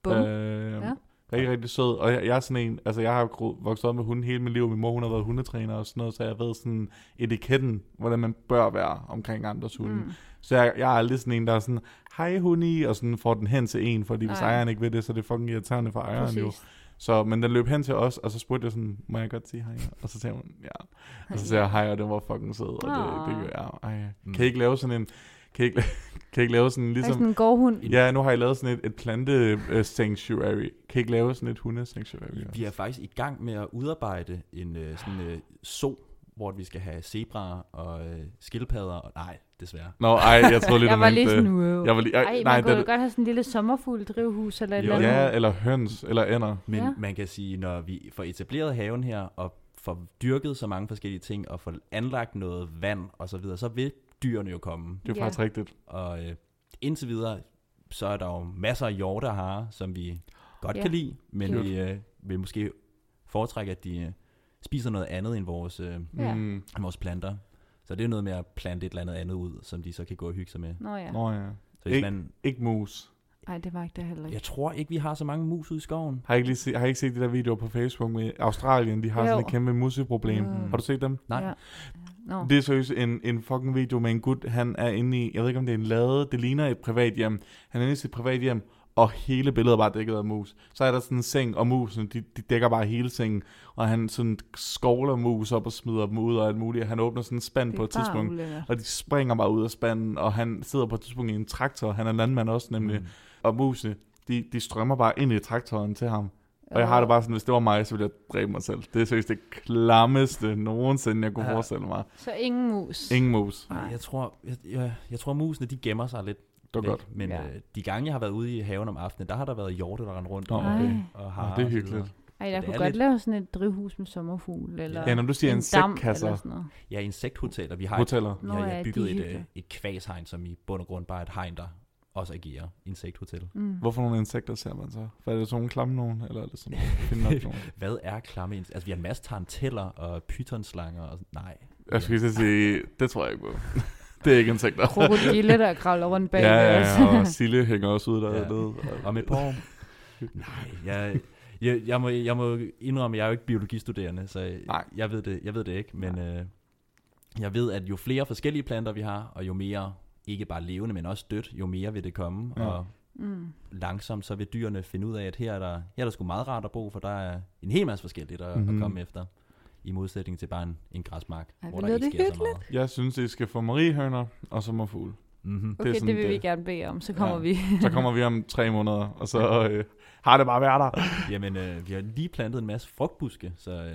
bum.
Øh,
Ja.
ja. Rigtig, rigtig sød. Og jeg, jeg er sådan en, altså jeg har gro- vokset op med hunde hele mit liv. Min mor, hun har været hundetræner og sådan noget, så jeg ved sådan etiketten, hvordan man bør være omkring andres hunde. Mm.
Mm.
Så jeg, jeg er aldrig sådan en, der er sådan, hej hunde, og sådan får den hen til en, fordi hvis
Nej.
ejeren ikke ved det, så er det fucking irriterende for ejeren jo.
Præcis.
Så, men den løb hen til os, og så spurgte jeg sådan, må jeg godt sige hej? Og så sagde hun, ja. Og så sagde jeg hej, og den var fucking sød. Og det,
Ah.
det, ja, ej. Kan I ikke lave sådan en, kan I ikke, kan I ikke lave sådan
Ligesom...
ligesom,
Sådan en gårdhund.
Ja, nu har jeg lavet sådan et, et plante øh, sanctuary. Kan I ikke lave sådan et hunde sanctuary? også?
Vi er faktisk i gang med at udarbejde en øh, sådan øh, zoo, hvor vi skal have zebraer og øh, skildpadder. Og, nej, desværre.
Nå, ej, jeg troede lidt,
Jeg
du
var
mente,
lige
øh,
sådan, wow.
Jeg var lige,
Ej,
ej,
man
nej,
kunne jo
det,
godt have sådan en lille sommerfugl drivhus eller et
Jo.
eller andet.
ja, eller høns, eller ænder.
Men
Ja.
ja. man kan sige, når vi får etableret haven her, og får dyrket så mange forskellige ting, og får anlagt noget vand og så videre, så vil dyrene jo komme.
Det er
Ja.
faktisk rigtigt.
Og øh, indtil videre, så er der jo masser af hjorte og harer, som vi godt
Ja.
ja. kan lide, men
Cute.
vi øh, vil måske foretrække, at de øh, spiser noget andet end vores, øh,
Ja.
Mm.
end vores planter. Så det er noget med at plante et eller andet andet ud, som de så kan gå og hygge sig med.
Nå ja.
Nå ja.
Så hvis
Ikke-
man,
Ikke mus.
Nej, det var ikke det heller ikke.
jeg tror ikke, vi har så mange mus ude i skoven.
Har I ikke, lige se, har I ikke set de der videoer på Facebook med Australien? De har jo. sådan
Jo.
et kæmpe museproblem.
Mm.
Mm. Har du set dem?
Nej.
Ja. Nå.
Det er seriøst en, en fucking video med en gut, han er inde i, jeg ved ikke om det er en lade, det ligner et privat hjem. Han er inde i sit privat hjem, og hele billedet er bare dækket af mus. Så er der sådan en seng, og musen, de, de dækker bare hele sengen, og han sådan skovler mus op og smider dem ud og alt muligt. Han åbner sådan en spand
Det
på
er
et
bare
tidspunkt,
ulækkert.
og de springer bare ud af spanden, og han sidder på et tidspunkt i en traktor, han er landmand også nemlig, mm. og musene, de, de strømmer bare ind i traktoren til ham. Og jeg har det bare sådan, hvis det var mig, så ville jeg dræbe mig selv. Det er seriøst det klammeste nogensinde, jeg kunne
Ja.
forestille mig.
Så ingen mus.
Ingen mus.
Nej, jeg tror, jeg, jeg, jeg tror musene, de gemmer sig lidt.
Det var
væk,
godt.
Men
Ja.
øh, de gange, jeg har været ude i haven om aftenen, der har der været hjorte, der rendte rundt.
Nå,
og-
okay.
Ej.
Og
Nå,
har
det er hyggeligt.
Ej,
Så
jeg
det
kunne
er
godt
lidt-
lave sådan et drivhus med sommerfugl, eller
Ja, når du siger
en dam, eller
insektkasser,
sådan noget.
Ja, insekthoteller. Vi har, et,
hoteller.
vi
Nå
har
ja, de
ja,
er
bygget et, øh,
hyggelige.
et kvashegn, som i bund og grund bare er et hegn, der også agerer insekthotel.
Mm.
Hvorfor nogle insekter ser man så? For er det sådan nogle klamme nogen, eller er det sådan nogle fine nok nogen?
Hvad er klamme insekter? Altså, vi har en masse taranteller og pythonslanger. Og, sådan- nej.
Jeg skulle lige til at sige, det tror jeg ikke på. det er ikke insekter.
Krokodille, der kravler rundt bag
ja,
os.
ja, og Sille hænger også ud der.
Ja.
Ja.
Om et par år? Nej, jeg, jeg, jeg, må, jeg må indrømme, jeg er jo ikke biologistuderende, så
Nej.
jeg ved det, jeg ved det ikke. Men øh, jeg ved, at jo flere forskellige planter vi har, og jo mere, ikke bare levende, men også dødt, jo mere vil det komme.
Ja.
Ja. Og
Mm.
langsomt, så vil dyrene finde ud af, at her er der, her er der sgu meget rart at bo, for der er en hel masse forskelligt at, mm-hmm.
Mhm.
at komme efter. I modsætning til bare en, en græsmark,
Ej,
hvor
hvor
der
lyder
ikke
det
sker så meget.
Jeg synes, I skal få mariehøner og sommerfugle.
Mm-hmm.
Okay, det,
sådan
det vil vi
det.
gerne bede om, så kommer
Ja.
ja. vi.
Så kommer vi om tre måneder, og så øh, har det bare været der.
Jamen, øh, vi har lige plantet en masse frugtbuske, så øh,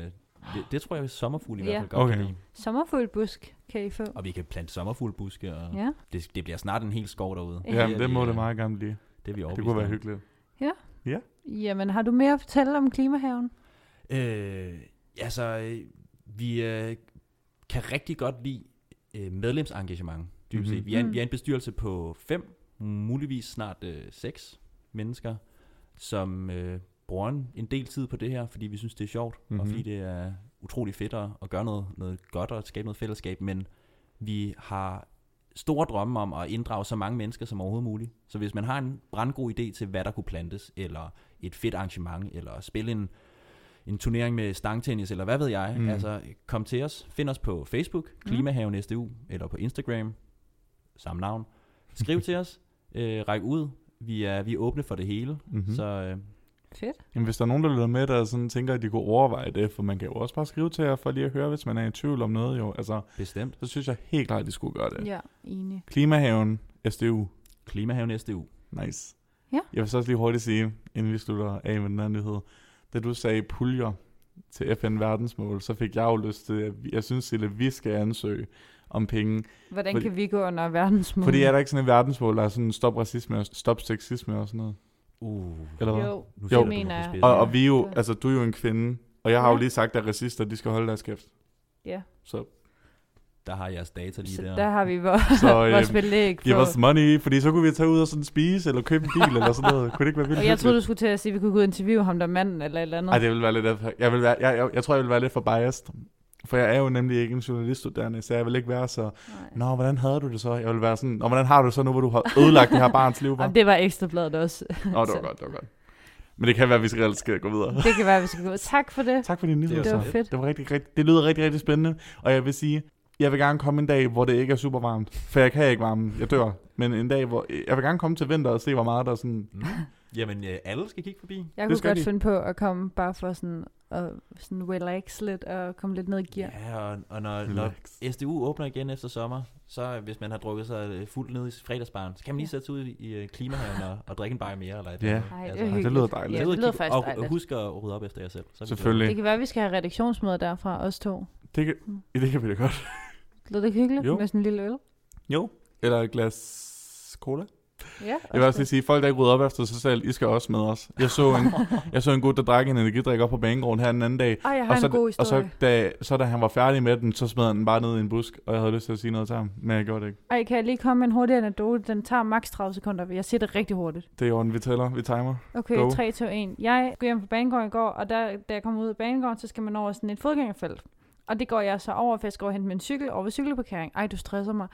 det, det tror jeg, at sommerfugle i
Ja.
hvert fald godt okay. kan
Okay.
lide.
Sommerfuglbusk kan I få.
Og vi kan plante sommerfuglbuske, og ja.
Ja,
det, det bliver snart en hel skov derude.
Ja.
er
Jamen, det
vi,
må
øh,
det meget gerne blive.
Det, er vi
Det
overbevist
kunne være
om.
hyggeligt.
jamen har du mere at fortælle om klimahaven?
Øh, altså, øh, vi øh, kan rigtig godt lide øh, medlemsengagement, dybest set.
Mhm.
Mm-hmm. Vi, er en,
Mm.
vi er en bestyrelse på fem, muligvis snart øh, seks mennesker, som øh, bruger en, en del tid på det her, fordi vi synes, det er sjovt, mm-hmm. og
Mhm.
fordi det er utrolig fedt at, at gøre noget, noget godt og at skabe noget fællesskab, men vi har store drømme om at inddrage så mange mennesker som overhovedet muligt. Så hvis man har en brandgod idé til, hvad der kunne plantes, eller et fedt arrangement, eller at spille en, en turnering med stangtennis, eller hvad ved jeg,
Mm.
mm. altså kom til os. Find os på Facebook, Klimahaven SDU, eller på Instagram, samme navn. Skriv til os, øh, ræk ud. Vi er, vi er åbne for det hele,
Mm-hmm.
mm. så øh,
Fedt.
Jamen, hvis der er nogen, der lytter med, der sådan tænker, at de kunne overveje det, for man kan jo også bare skrive til jer for lige at høre, hvis man er i tvivl om noget. Jo. Altså,
bestemt.
så synes jeg helt klart, at de skulle gøre det.
Ja, enig.
Klimahaven, SDU.
Klimahaven SDU.
Nice.
Ja.
Jeg vil så også lige hurtigt sige, inden vi slutter af med den anden nyhed, da du sagde puljer til FN-verdensmål, så fik jeg jo lyst til, at vi- jeg synes, at vi skal ansøge om penge.
Hvordan
Fordi-
kan vi gå under verdensmål?
Fordi er der ikke sådan et verdensmål, der er sådan stop racisme og stop sexisme og sådan noget?
Uh,
Eller hvad?
Jo,
nu
Jo.
sætter du
Mener
mig
jeg.
på spidsen.
Og, og vi er jo,
Ja.
altså du er jo en kvinde, og jeg har jo
Ja.
lige sagt, at racister, de skal holde deres kæft.
Ja.
Så
Der har jeres data lige
så
der.
der har vi vores,
Så, øh,
vores belæg
give
for.
os money, fordi så kunne vi tage ud og sådan spise, eller købe en bil, eller sådan noget. Kunne det ikke være vildt
Og jeg troede,
hyggeligt?
du skulle til at sige, at vi kunne gå ud og interviewe ham der manden eller et eller andet.
Ej, det vil være lidt af, jeg, vil være, jeg, jeg, jeg, tror, jeg vil være lidt for biased. For jeg er jo nemlig ikke en journaliststuderende, så jeg vil ikke være så,
Nej.
nå, hvordan havde du det så? Jeg vil være sådan, nå, hvordan har du det så nu, hvor du har ødelagt det her barns liv? hva?"
Jamen, det var ekstrabladet også.
Åh, det var
så-
godt, det var godt. Men det kan være, at vi skal, reelt skal gå videre.
Det kan være, vi skal gå. Tak for det.
Tak for din nyhed.
var
Det var
så-
fedt.
Det, var rigtig, rigtig, det lyder rigtig, rigtig spændende, og jeg vil sige, jeg vil gerne komme en dag, hvor det ikke er super varmt, for jeg kan ikke varme, jeg dør. Men en dag, hvor jeg vil gerne komme til vinter og se, hvor meget der er sådan...
Mm. Jamen, øh, alle skal kigge forbi.
Jeg
Det
kunne
skal
godt
de.
finde på at komme bare for sådan at sådan relax lidt og komme lidt ned i gear.
Ja, og, og når, når SDU åbner igen efter sommer, så øh, hvis man har drukket sig øh, fuldt ned i fredagsbaren, så kan man lige
Ja.
sætte sig ud i, i øh, klimahaven og, og drikke en bajer mere. Eller et
Ja.
eller andet.
Ej, det
Altså,
er
lyder
hyggeligt.
dejligt.
Ja,
tag ud og
det lyder
kig-
faktisk
og, og
dejligt.
husk at rydde op efter jer selv. Så er vi
Selvfølgelig.
Det kan være, at vi skal have redaktionsmøde derfra, os to.
Det kan, det kan vi da godt.
Lyder det hyggeligt
Jo.
jo. med sådan en lille øl?
Jo. Eller et glas cola.
Ja,
Jeg vil også lige sige, folk, der ikke rydder op efter sig selv, I skal også med os. Jeg så en, jeg så en gut, der drak en energidrik op på banegården her den anden dag.
Ej, jeg har
og så,
en god
og
historie.
så da, så da han var færdig med den, så smed han den bare ned i en busk, og jeg havde lyst til at sige noget til ham, men jeg gjorde det ikke.
Ej, kan jeg lige komme med en hurtig anekdote? Den tager maks 30 sekunder. Jeg siger det rigtig hurtigt.
Det er i orden, vi tæller, vi timer.
Okay,
Go.
Go. 3, 2, 1. Jeg skulle hjem på banegården i går, og der, da jeg kom ud af banegården, så skal man over sådan et fodgængerfelt. Og det går jeg så over, for jeg skal over og hente min cykel over ved cykelparkering. Ej, du stresser mig.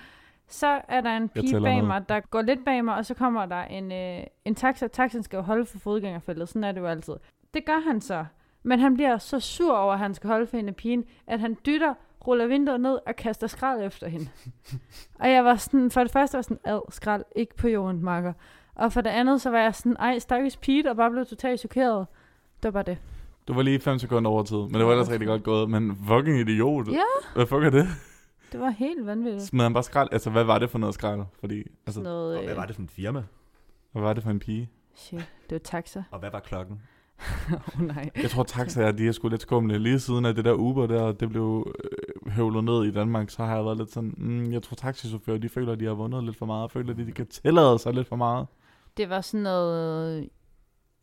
Så er der en pige
tæller
bag
med.
mig, der går lidt bag mig, og så kommer der en, øh, en taxa. Taxen skal jo holde for fodgængerfeltet, sådan er det jo altid. Det gør han så. Men han bliver så sur over, at han skal holde for hende af pigen, at han dytter, ruller vinduet ned og kaster skrald efter hende. og jeg var sådan, for det første var jeg sådan, ad, skrald, ikke på jorden, marker. Og for det andet, så var jeg sådan, ej, stakkels Pete, og bare blev totalt chokeret. Det var bare det.
Du var lige 5 sekunder over tid, men det var ellers rigtig godt gået. Men fucking idiot.
Ja.
Hvad fuck er det?
Det var helt vanvittigt.
Smed han bare skrald? Altså, hvad var det for noget skrald? Fordi, altså,
Sådan noget, øh,
Og hvad var det for en firma?
hvad var det for en pige?
Shit, det var taxa.
Og hvad var klokken?
Åh oh, nej.
Jeg tror, taxaer, de er sgu lidt skumle. Lige siden af det der Uber der, det blev øh, høvlet ned i Danmark, så har jeg været lidt sådan, mm, jeg tror taxichauffører, de føler, de har vundet lidt for meget, og føler, at de kan tillade sig lidt for meget.
Det var sådan noget...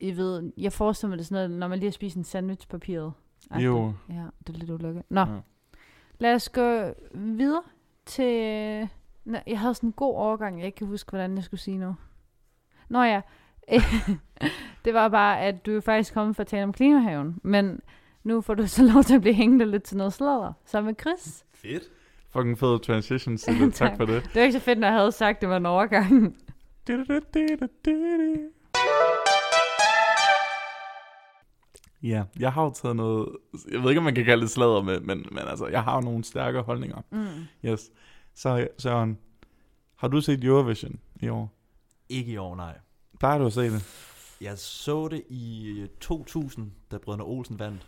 Jeg ved, jeg forestiller mig det er sådan noget, når man lige har spist en sandwich papiret.
Jo.
Ja, det er lidt ulykke. Nå,
Ja.
ja. lad os gå videre til... Nå, jeg havde sådan en god overgang, jeg ikke kan huske, hvordan jeg skulle sige nu. Nå ja, det var bare, at du er faktisk kommet for at tale om klimahaven, men nu får du så lov til at blive hængende lidt til noget sladder, sammen med Chris.
Fedt.
Fucking fed transition, Sille. tak. tak
Tak.
for det.
Det var ikke så fedt, når jeg havde sagt, det var en overgang.
Du-du-du-du-du-du. Ja, jeg har jo taget noget, jeg ved ikke, om man kan kalde det sladder med, men, men altså, jeg har jo nogle stærke holdninger.
Mm.
Yes. Så Søren, har du set Eurovision i år?
Ikke i år, nej.
Der har du set det.
Jeg så det i øh, 2000, da Brødrene Olsen vandt.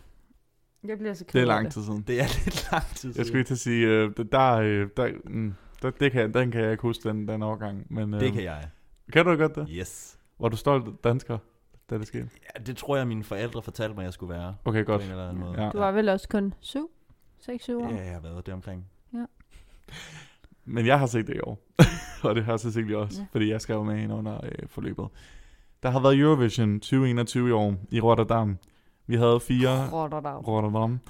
Jeg bliver så ked
Det er
af
lang tid siden.
Det er lidt lang tid siden.
Jeg skulle lige til at sige, øh, der, der, øh, der, mm, der, det kan, den kan jeg ikke huske, den, den overgang. Men, øh,
Det kan jeg.
Kan du godt det?
Yes.
Var du stolt dansker, da det skete?
Ja, det tror jeg, mine forældre fortalte mig, jeg skulle være.
Okay, godt.
På en eller anden måde.
Ja.
Du var vel også kun syv? 6-7 år?
Ja, jeg har været det omkring.
Men jeg har set det i år. og det har så sikkert også, ja.
Ja.
fordi jeg skrev med hende under øh, forløbet. Der har været Eurovision 2021 i år i Rotterdam. Vi havde fire
Rotterdam.
Rotterdam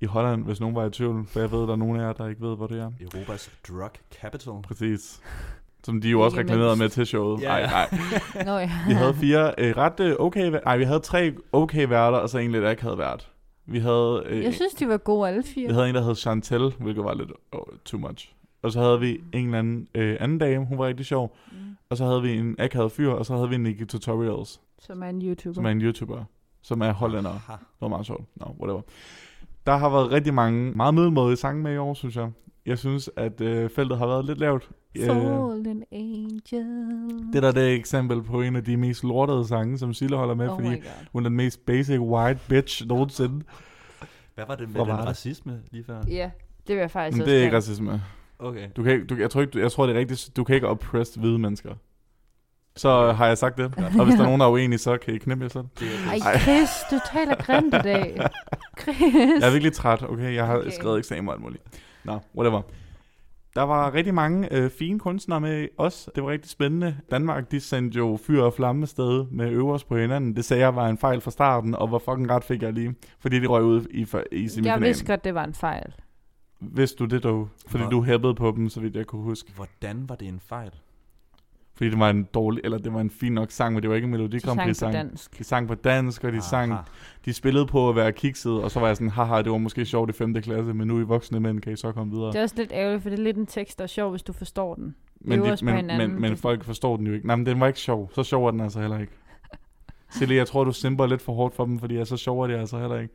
i Holland, hvis nogen var i tvivl. For jeg ved, der er nogen af jer, der ikke ved, hvor det er.
Europas drug capital.
Præcis. Som de jo også
Ikke
reklamerede
mindst.
med til showet.
Ja,
Nej,
ja.
nej.
Nå ja.
Vi havde fire øh, ret øh, okay... væ- Ej, vi havde tre okay værter, og så en lidt akavet vært. Vi havde, øh,
Jeg synes, de var gode alle fire.
vi havde en, der hed Chantel, hvilket var lidt oh, too much. Og så havde vi en eller anden øh, anden dame, hun var rigtig sjov.
Mm.
Og så havde vi en akavet fyr, og så havde vi Nicky Tutorials,
Som er en YouTuber.
som er en YouTuber, som er hollænder.
Aha.
Det var meget sjovt. No, whatever. Der har været rigtig mange meget middelmådige sange med i år, synes jeg. Jeg synes, at øh, feltet har været lidt lavt. Øh,
Fallen Angel.
det der det er et eksempel på en af de mest lortede sange, som Sille holder med,
oh
fordi
my god.
Hun er den mest basic white bitch nogensinde.
Hvad var det med
Hvor var
den
det?
racisme lige før?
Ja, det vil jeg faktisk
Men
også
det er ikke
gerne.
racisme.
Okay.
Du kan ikke, du, jeg, tror ikke, du, jeg tror, det er rigtigt. Du kan ikke oppresse hvide mennesker. Så har jeg sagt det. Og hvis der er nogen, der er uenige, så kan I knippe jer selv.
Det er
Ej,
det.
Chris, du taler grimt i dag. Chris.
Jeg er virkelig træt, okay? Jeg har okay.
Okay.
skrevet eksamen og alt muligt. Nå, whatever. Der var rigtig mange øh, fine kunstnere med os. Det var rigtig spændende. Danmark, de sendte jo fyr og flamme sted med øvers på hinanden. Det sagde jeg var en fejl fra starten, og hvor fucking ret fik jeg lige. Fordi de røg ud i, for- i
jeg
semifinalen.
vidste godt, det var en fejl.
Vidste du det dog? Fordi
Hvor-
du hæppede på dem, så vidt jeg kunne huske.
Hvordan var det en fejl?
Fordi det var en dårlig, eller det var en fin nok sang, men det var ikke en Melodi
De
Grand
sang
Prix
på
sang.
dansk.
De sang på dansk, og de sang,
Aha.
de spillede på at være kikset, og så var jeg sådan, haha, det var måske sjovt i 5. klasse, men nu i voksne mænd kan I så komme videre.
Det er også lidt ærgerligt, for det er lidt en tekst, der er sjov, hvis du forstår den.
men,
øver os på
men,
hinanden.
men, men,
Det-
folk forstår den jo ikke. Nej, men den var ikke sjov. Så sjov er den altså heller ikke. Silje, jeg tror, du simper lidt for hårdt for dem, fordi jeg så sjov er det altså heller ikke.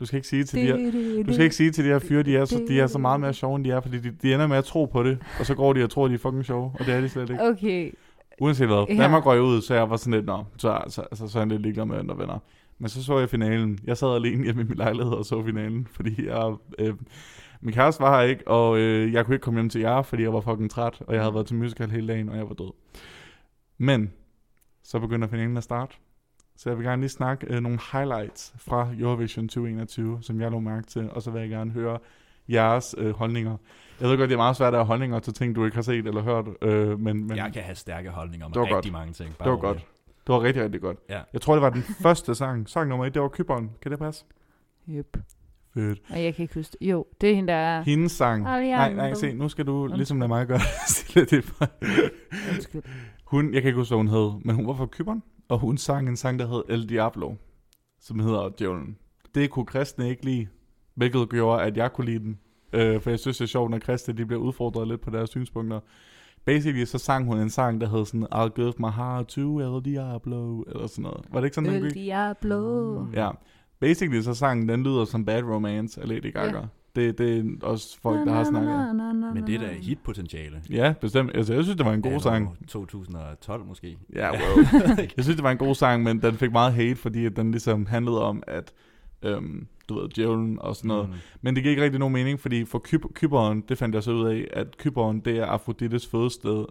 Du skal ikke sige til de her, du skal ikke sige til de her fyre, de er, så, de er så meget mere sjove, end de er, fordi de, de ender med at tro på det, og så går de og tror, de er fucking sjove, og det er de slet ikke.
Okay.
Uanset hvad. Ja.
Ja.
Danmark røg ud, så jeg var sådan lidt, nå, så, så, så, så er jeg lidt ligeglad med andre venner. Men så så jeg finalen. Jeg sad alene hjemme i min lejlighed og så finalen, fordi jeg, øh, min kæreste var her ikke, og øh, jeg kunne ikke komme hjem til jer, fordi jeg var fucking træt, og jeg havde været til musical hele dagen, og jeg var død. Men så begynder finalen at starte. Så jeg vil gerne lige snakke øh, nogle highlights fra Eurovision 2021, som jeg lå mærke til, og så vil jeg gerne høre jeres øh, holdninger. Jeg ved godt, det er meget svært at have holdninger til ting, du ikke har set eller hørt, øh, men, men
Jeg kan have stærke holdninger om
Det var
rigtig
godt.
mange ting. Bare
det var
rolig.
godt. Det var rigtig, rigtig godt.
Ja.
Jeg tror, det var den første sang. Sang nummer et, det var Kyberen. Kan det passe?
Yep.
Fedt.
Og jeg kan ikke huske det. Jo, det er hende, der er...
Hendes sang.
Ej, jeg er
Nej,
en
nej,
bog.
se, nu skal du ligesom lade mig gøre det. Stille det. for-
Undskyld.
Hun, jeg kan ikke huske, hvad hun hed, men hun var fra Kyberen, og hun sang en sang, der hed El Diablo, som hedder Djævlen. Det kunne kristne ikke lide, hvilket gjorde, at jeg kunne lide den. Øh, for jeg synes, det er sjovt, når kristne de bliver udfordret lidt på deres synspunkter. Basically, så sang hun en sang, der hed sådan, I'll give my heart to El Diablo, eller sådan noget. Var det ikke sådan, den
El
gik?
Diablo.
Ja. Basically, så sangen, den lyder som Bad Romance af Lady Gaga.
Ja.
Det, det er også folk, der har snakket.
Men det er da hitpotentiale.
Ja, bestemt. Altså, jeg synes, det var en god
Anno
sang.
2012 måske.
Ja, wow. jeg synes, det var en god sang, men den fik meget hate, fordi at den ligesom handlede om, at øhm, du ved, djævlen og sådan noget. Mm. Men det giver ikke rigtig nogen mening, fordi for Kyb- Kyberen, det fandt jeg så ud af, at Kyberen, det er Afrodites fødested,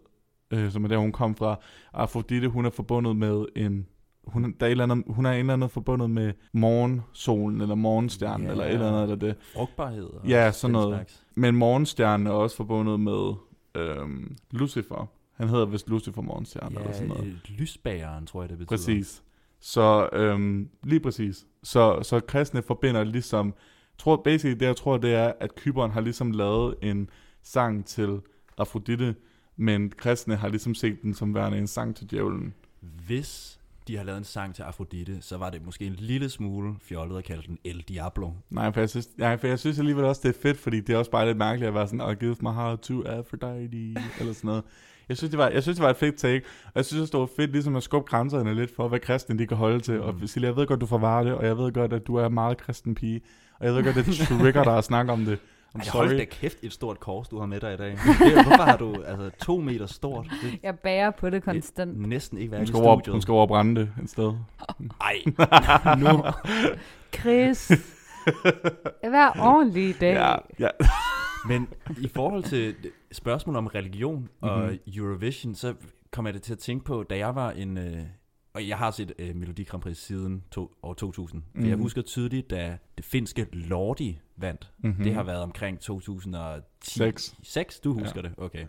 øh, som er der, hun kom fra. Afrodite, hun er forbundet med en... Hun, der er et eller andet, hun er et eller andet forbundet med morgensolen, eller morgenstjernen,
Ja.
yeah. eller et eller andet, eller det.
Frugtbarhed. og
Ja, sådan
den
noget.
slags.
Men morgenstjernen er også forbundet med øhm, Lucifer. Han hedder vist Lucifer Morgenstjernen, eller sådan noget.
Ja, øh, lysbæreren, tror jeg, det betyder.
Præcis. Så øhm, lige præcis. Så, så kristne forbinder ligesom, tror, basically det jeg tror, det er, at Kyberen har ligesom lavet en sang til Afrodite, men kristne har ligesom set den som værende en sang til djævlen.
Hvis de har lavet en sang til Afrodite, så var det måske en lille smule fjollet at kalde den El Diablo.
Nej, for jeg synes, nej, for jeg synes alligevel også, det er fedt, fordi det er også bare lidt mærkeligt at være sådan, I give my heart to Aphrodite, eller sådan noget. Jeg synes, det var, jeg synes, det var et fedt take, og jeg synes også, det var fedt ligesom at skubbe grænserne lidt for, hvad kristne de kan holde til. Mm. Og Silja, jeg ved godt, du forvarer det, og jeg ved godt, at du er en meget kristen pige, og jeg ved godt, det trigger dig at snakke om det. I'm
Ej, hold da
sorry.
kæft, et stort kors, du har med dig i dag. Det, hvorfor har du altså, to meter stort? Det
Jeg bærer på det
er
konstant.
næsten ikke
Hun
været i
skal, over,
studiet.
hun skal over og brænde det et sted.
Ej,
nu.
Chris, vær ordentlig i dag.
Ja, ja.
men i forhold til spørgsmålet om religion og
Mhm.
mm-hmm. Eurovision, så kom jeg det til at tænke på, da jeg var en... Øh, og jeg har set øh, Melodi Grand Prix siden to, år 2000. Mm-hmm. For jeg
Mhm.
husker tydeligt, da det finske Lordi vandt
Mm-hmm.
Det har været omkring 2010.
Seks.
6, du husker ja. det, okay.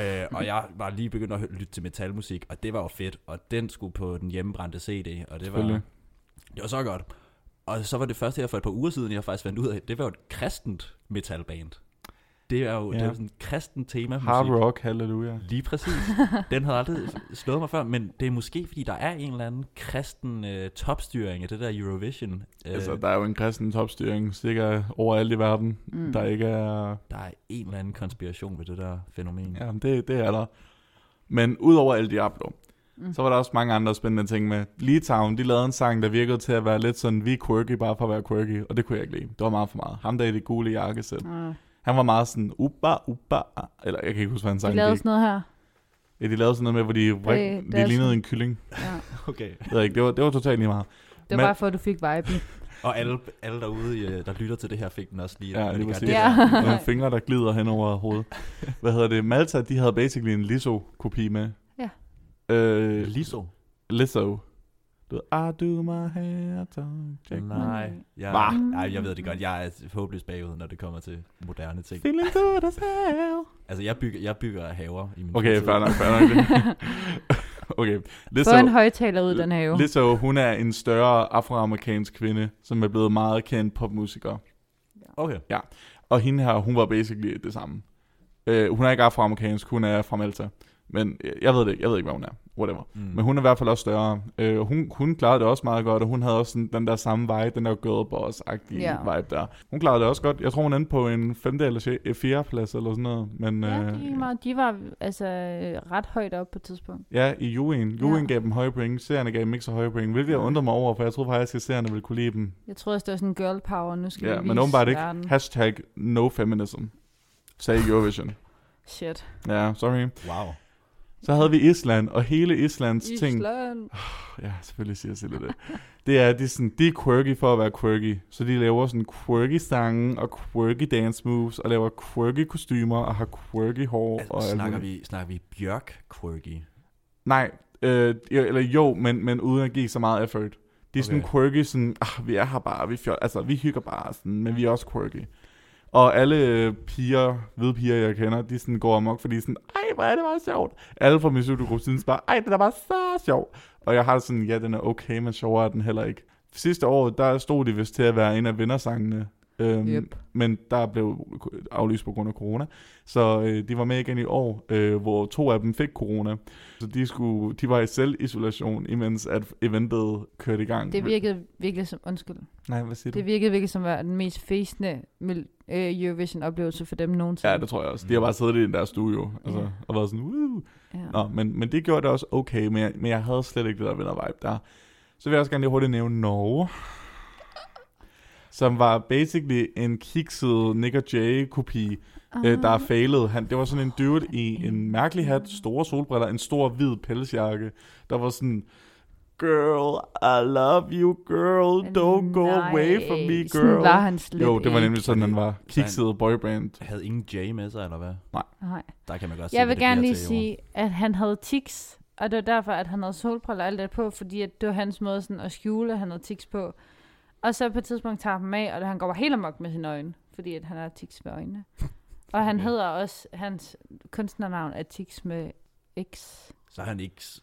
Øh, og jeg var lige begyndt at hø- lytte til metalmusik, og det var jo fedt. Og den skulle på den hjemmebrændte CD, og det var,
Selvfølgelig.
det var så godt. Og så var det første her for et par uger siden, jeg faktisk fandt ud af, det var jo et kristent metalband. Det er jo, ja.
Ja.
det er jo sådan kristen tema musik.
Hard rock, halleluja.
Lige præcis. Den havde aldrig slået mig før, men det er måske, fordi der er en eller anden kristen øh, topstyring af det der Eurovision. Øh,
Altså, der er jo en kristen topstyring, sikkert overalt i verden, mm. der ikke er
der er en eller anden konspiration ved det der fænomen.
Ja, det, det er der. Men udover El Diablo, mm. så var der også mange andre spændende ting med. Litauen, de lavede en sang, der virkede til at være lidt sådan, vi er quirky bare for at være quirky, og det kunne jeg ikke lide. Det var meget for meget. Ham der i det gule jakkesæt,
Ah.
han var meget sådan, uba, uba, ah. eller jeg kan ikke huske, hvad han
De
sang.
lavede Øh, sådan noget her.
ja, de lavede sådan noget med, hvor de,
det
vrik,
er
de lignede
sådan-
en kylling.
Ja.
Okay.
Jeg ved ikke, det var, det var totalt lige meget.
Det var
Men-
bare for, at du fik vibe.
Og alle, alle derude, øh, der lytter til det her, fik den også lige.
Ja,
når de
lige
gør
præcis.
det
Ja.
der.
Nogle fingre, der glider hen over hovedet. Hvad hedder det? Malta, de havde basically en Lizzo-kopi med.
Ja.
Øh,
Liso.
Lizzo. Du ved, I do my hair, don't check my
Nej. Jeg,
Hva?
nej, jeg ved det godt. Jeg er håbløst bagud, når det kommer til moderne ting.
Feeling good as hell.
Altså, jeg bygger, jeg bygger haver i min
Okay,
fritid.
fair nok, fair nok. okay,
Få en
Lizzo,
højtaler ud i den have.
Lizzo, hun er en større afroamerikansk kvinde, som er blevet meget kendt popmusiker.
Okay.
Og hende her, hun var basically det samme. Øh, hun er ikke afroamerikansk, hun er fra Malta. Men øh, jeg ved det ikke, jeg ved ikke, hvad hun er. Whatever.
Mm.
Men hun er i hvert fald også større. Øh, hun, hun klarede det også meget godt, og hun havde også sådan, den der samme vibe, den der girl boss-agtige
Ja.
vibe der. Hun klarede det også godt. Jeg tror, hun endte på en femte eller sjæ- fjerde plads eller sådan noget. Men,
Ja,
øh,
det gik meget. De var altså øh, ret højt op på et tidspunkt.
Ja, i Juen. Juen
Ja.
gav dem høje point, seerne gav dem ikke så høje point, hvilket jeg undrer mig over, for jeg troede faktisk, at seerne ville kunne lide dem.
Jeg troede, at det var sådan girl power. Nu skal
Ja,
vi
men
vise
åbenbart ikke.
verden.
Hashtag no feminism, sagde Eurovision.
Shit.
ja, sorry.
Wow.
Så havde vi Island, og hele Islands ting...
Island.
Ja, selvfølgelig siger Sille det. Det er, de er, sådan, de er quirky for at være quirky. Så de laver sådan quirky sange og quirky dance moves, og laver quirky kostymer og har quirky hår. og
Altså,
alt
snakker,
muligt.
vi, snakker vi Bjørk quirky?
Nej, øh, jo- eller jo, men, men uden at give så meget effort. De er sådan
Okay.
quirky, sådan, ah, vi er her bare, vi, fjol, altså, vi hygger bare, sådan, men vi er også quirky. Og alle øh, piger, hvide piger, jeg kender, de sådan går amok, fordi de er sådan, ej, hvor er det bare sjovt. Alle fra min studiegruppe synes bare, ej, det er bare så sjovt. Og jeg har det sådan, ja, den er okay, men sjovere er den heller ikke. Sidste år, der stod de vist til at være en af vindersangene. Øhm,
Yep.
Men der blev aflyst på grund af corona. Så øh, de var med igen i år, øh, hvor to af dem fik corona. Så de, skulle, de var i selvisolation, imens at eventet kørte i gang.
Det virkede virkelig som... Undskyld.
Nej, hvad siger du?
Det virkede virkelig som at være den mest fæsende øh, Eurovision-oplevelse for dem nogensinde.
Ja, det tror jeg også. De har bare siddet i deres studio altså,
Ja.
og været sådan, Woo!
ja.
Nå, men, men det gjorde det også okay, men jeg, men jeg havde slet ikke det der vinder vibe der. Så vil jeg også gerne lige hurtigt nævne Norge. som var basically en kikset Nick og Jay-kopi,
Ah.
øh, der er failet. Han, det var sådan en dude i en mærkelig hat, store solbriller, en stor hvid pelsjakke, der var sådan... Girl, I love you, girl. Don't go away from me,
Sådan var
girl.
han slet
Jo, det var
ikke.
nemlig sådan, han var. Kikset boyband.
Havde ingen J med sig, eller hvad?
Nej.
Der kan man
Altså,
godt se,
Jeg
hvad
vil
det
gerne
bliver
lige
til, jo.
sige, at han havde tics, og det var derfor, at han havde solbriller og alt det på, fordi at det var hans måde sådan at skjule, at han havde tics på. Og så på et tidspunkt tager han dem af, og han går helt amok med sine øjne, fordi at han har tics med øjnene. Og han
Okay.
hedder også, hans kunstnernavn er tics med X.
Så er han ikke s-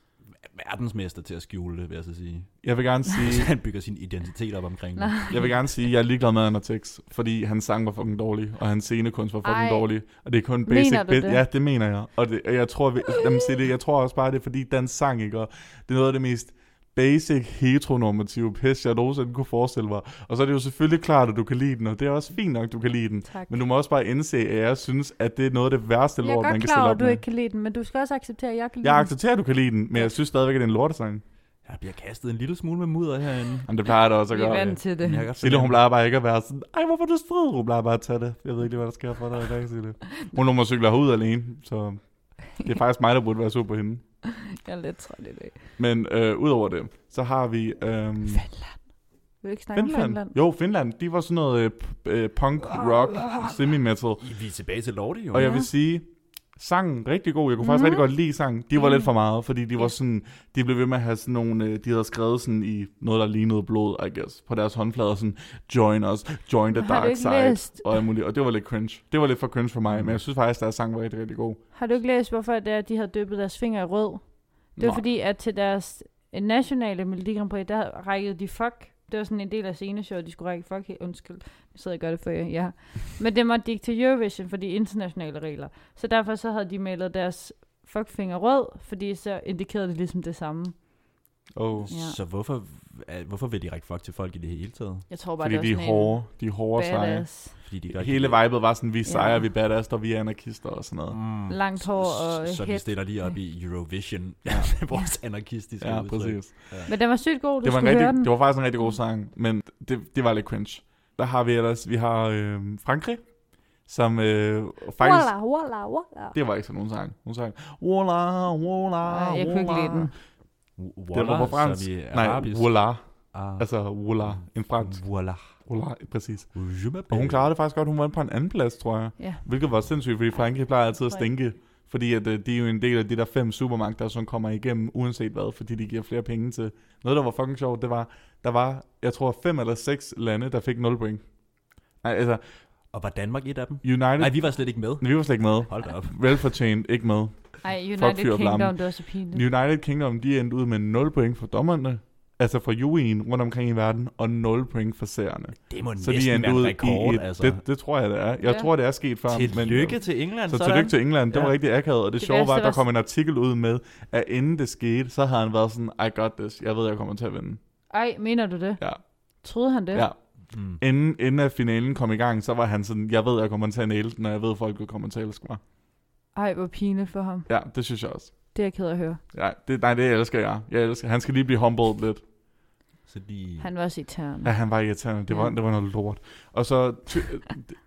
verdensmester til at skjule det, vil jeg så sige.
Jeg vil gerne sige...
Så han bygger sin identitet op omkring det.
Jeg vil gerne sige, at jeg er ligeglad med, at han har tekst, fordi hans sang var fucking dårlig, og hans scenekunst var fucking
Ej.
dårlig, og det er kun
Mener
basic
du
bit.
det?
Ja, det mener jeg. Og, det, og jeg, tror, vi, jamen, se det, jeg tror også bare, det er fordi dansk sang, ikke? Og det er noget af det mest basic heteronormative pis, jeg nogensinde kunne forestille mig. Og så er det jo selvfølgelig klart, at du kan lide den, og det er også fint nok, du kan lide den.
Tak.
Men du må også bare indse, at jeg synes, at det er noget af det værste
jeg er
lort, man
godt
kan
klar
stille
over,
op
at du
med.
ikke kan lide den, men du skal også acceptere, at jeg kan lide
Jeg
den.
accepterer, at du kan lide den, men jeg synes stadigvæk, at det er en lortesang.
Jeg bliver kastet en lille smule med mudder herinde.
Jamen, det plejer det Mm. også at
Vi er
gøre.
vant til det.
Men jeg kan godt
Sille, hun
fornemme-
plejer bare ikke at være sådan, ej, hvorfor er du strid? Hun plejer bare at tage det. Jeg ved ikke lige, hvad der sker for dig i dag, Sille. Hun nummer cykler herud alene, så det er faktisk mig, der burde være sur på hende.
Jeg er lidt træt i dag.
Men øh, udover det, så har vi... Øhm,
Vil du ikke snakke om
Finland.
Finland?
Jo, Finland. De var sådan noget øh, p- øh, punk, rock, semi-metal.
I- Vi er tilbage til Lordi, jo.
Og jeg
Ja. Mhm.
vil sige, sangen rigtig god. Jeg kunne faktisk mm-hmm. rigtig godt lide sangen. De var lidt for meget, fordi de var sådan, de blev ved med at have sådan nogle, øh, de havde skrevet sådan i noget, der lignede blod, I guess, på deres håndflader, sådan, join us, join the
Har du
dark
ikke
side,
læst?
og alt muligt. Og det var lidt cringe. Det var lidt for cringe for mig, men jeg synes faktisk, deres sang var rigtig, rigtig god.
Har du ikke læst, hvorfor det er, at de havde døbet deres fingre i rød? Det var
Nå.
fordi, at til deres øh, nationale Melodi Grand Prix, der rækkede de fuck. Det var sådan en del af sceneshowet, de skulle række fuck. Helt undskyld, nu sidder jeg og gør det for jer. Ja. Men det måtte de ikke til Eurovision for de internationale regler. Så derfor så havde de malet deres fuckfinger rød, fordi så indikerede det ligesom det samme.
Oh.
Ja.
Så hvorfor, er- hvorfor vil de række fuck til folk i det hele taget?
Jeg tror bare,
Fordi
det var
de er
sådan
hårde, de er
en
hårde og seje.
badass.
Fordi de godt
Hele
kan
vibet var sådan, vi er sejre,
Ja.
vi er badass, og vi er anarkister og sådan noget.
lide- Mm.
Langt hår og
Så, så de
hæt.
stiller lige op i Eurovision med vores anarkistiske
Ja,
udtryk.
præcis.
Men den var sygt god, du
det var, en
skulle høre den.
rigtig, det var faktisk en rigtig god sang, men det, det var lidt cringe. Der har vi ellers, vi har øh, Frankrig, som øh, faktisk,
Walla, walla, walla.
det var ikke sådan nogen sang. Hun sang, Walla, Walla,
Nej, jeg kunne ikke lide den.
W-
Det
Wallah,
var på fransk.
som i
Nej,
arabisk.
Walla,
Ah,
altså Walla, en fransk.
Wallah.
Walla, præcis.
Je m'appelle-
Og hun klarede det faktisk godt, hun var på en anden plads, tror jeg.
Ja.
Hvilket var sindssygt, fordi Frankrig plejer altid at
Tror jeg.
stinke. Fordi at, øh, de er jo en del af de der fem supermagter, som kommer igennem, uanset hvad, fordi de giver flere penge til. Noget, der var fucking sjovt, det var, der var, jeg tror, fem eller seks lande, der fik 0 point. Nej, altså,
Og var Danmark et af dem?
United,
Nej,
Nej,
vi var slet ikke med.
vi var slet ikke med.
Hold da op.
Velfortjent, ikke med.
Ej, United
fyr og flamme.
Kingdom, det var så pinligt.
United Kingdom, de endte ud med 0 point for dommerne, altså fra UE'en rundt omkring i verden, og 0 point for seerne.
Det må
Så de
næsten
endte
være
ud
en
i
rekord,
et,
altså.
det, det tror jeg, det er. Jeg
Ja.
tror, det er sket før. men-
Tillykke til England,
Så
sådan.
tillykke til England. Det var
Ja.
rigtig akavet, og det, det
Det
sjove var,
værste
at der
var-
kom en artikel ud med, at inden det skete, så havde han været sådan, I got this, jeg ved, jeg kommer til at vinde.
Ej, mener du det?
Ja.
Troede han det?
Ja.
Mm.
Inden, inden at finalen kom i gang, så var han sådan, jeg ved, jeg kommer til at næle den, og jeg ved, at folk kommer til at elske mig.
Ej, hvor pinligt for ham.
Ja, det synes jeg også.
Det er jeg ked af at høre.
Ja, det, nej, det elsker jeg. jeg elsker. Han skal lige blive humbled lidt.
Så de...
Han var også i tæren.
Ja, han var irriterende. Det var,
Ja.
det var noget lort. Og så ty-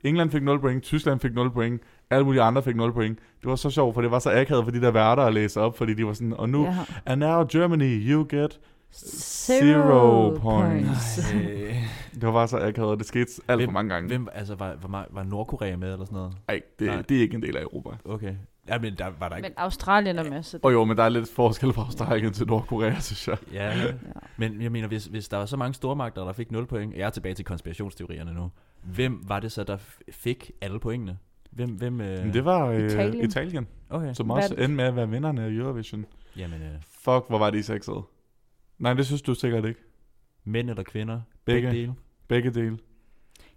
England fik 0 point, Tyskland fik 0 point, alle mulige andre fik 0 point. Det var så sjovt, for det var så akavet for de der værter at læse op, fordi de var sådan, og nu,
Ja.
and now Germany, you get
Zero,
Zero
points.
Øh,
Det var bare så akavet, og det skete alt
Hvem-
for mange gange.
Hvem, altså, var, var, var Nordkorea med eller sådan noget?
Ej, det,
Nej.
det er ikke en del af Europa.
Okay. Ja, men der var der ikke...
Men Australien er med, så
Og jo, men der er lidt forskel fra Australien til Nordkorea, synes jeg.
Ja,
Ja.
men jeg mener, hvis, hvis der var så mange stormagter, der fik 0 point, jeg er tilbage til konspirationsteorierne nu, hvem var det så, der f- fik alle pointene? Hvem, hvem... Øh...
Men det var øh, Italien.
Italien.
Italien,
Okay.
som også
Vandt.
endte med at være vinderne af Eurovision.
Jamen, øh,
Fuck, hvor var de sexede. Nej, det synes du sikkert ikke.
mænd eller kvinder?
Begge.
Begge dele.
Begge dele.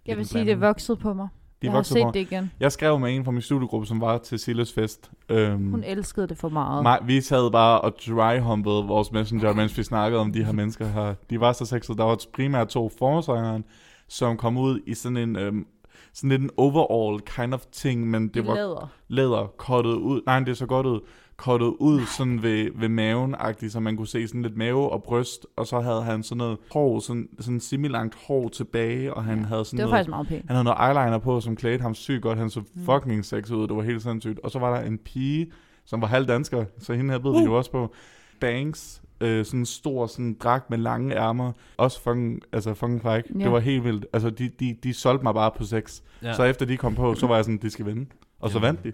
jeg vil
en
sige, det
blanding.
voksede på mig.
De
jeg har
voksede
set
på.
det igen.
Jeg skrev med en fra min studiegruppe, som var til Silles fest. Øhm,
Hun elskede det for meget.
Nej, vi sad bare og dryhumpede vores messenger, mens vi snakkede om de her mennesker her. De var så sexede. Der var primært to forårsangeren, som kom ud i sådan en... Øhm, sådan lidt en overall kind of ting, men det var
Læder.
læder kottet ud. Nej, det er så godt ud. kottet ud sådan ved, ved maven så man kunne se sådan lidt mave og bryst, og så havde han sådan noget hår, sådan, sådan semilangt hår tilbage, og han
Ja,
havde sådan
Det var
noget,
faktisk meget pænt.
han havde noget eyeliner på, som klædte ham sygt godt. Han så fucking sexet ud. Det var helt sindssygt. Og så var der en pige, som var halv dansker, så hende her bed vi jo også på. Banks, øh, sådan en stor sådan dragt med lange ærmer. Også fucking, altså fucking fræk.
Ja.
Det var helt vildt. Altså, de, de, de solgte mig bare på sex. Ja.
Ja.
Så efter de kom på, så var jeg sådan, de skal vinde. Og så
Jamen.
vandt de.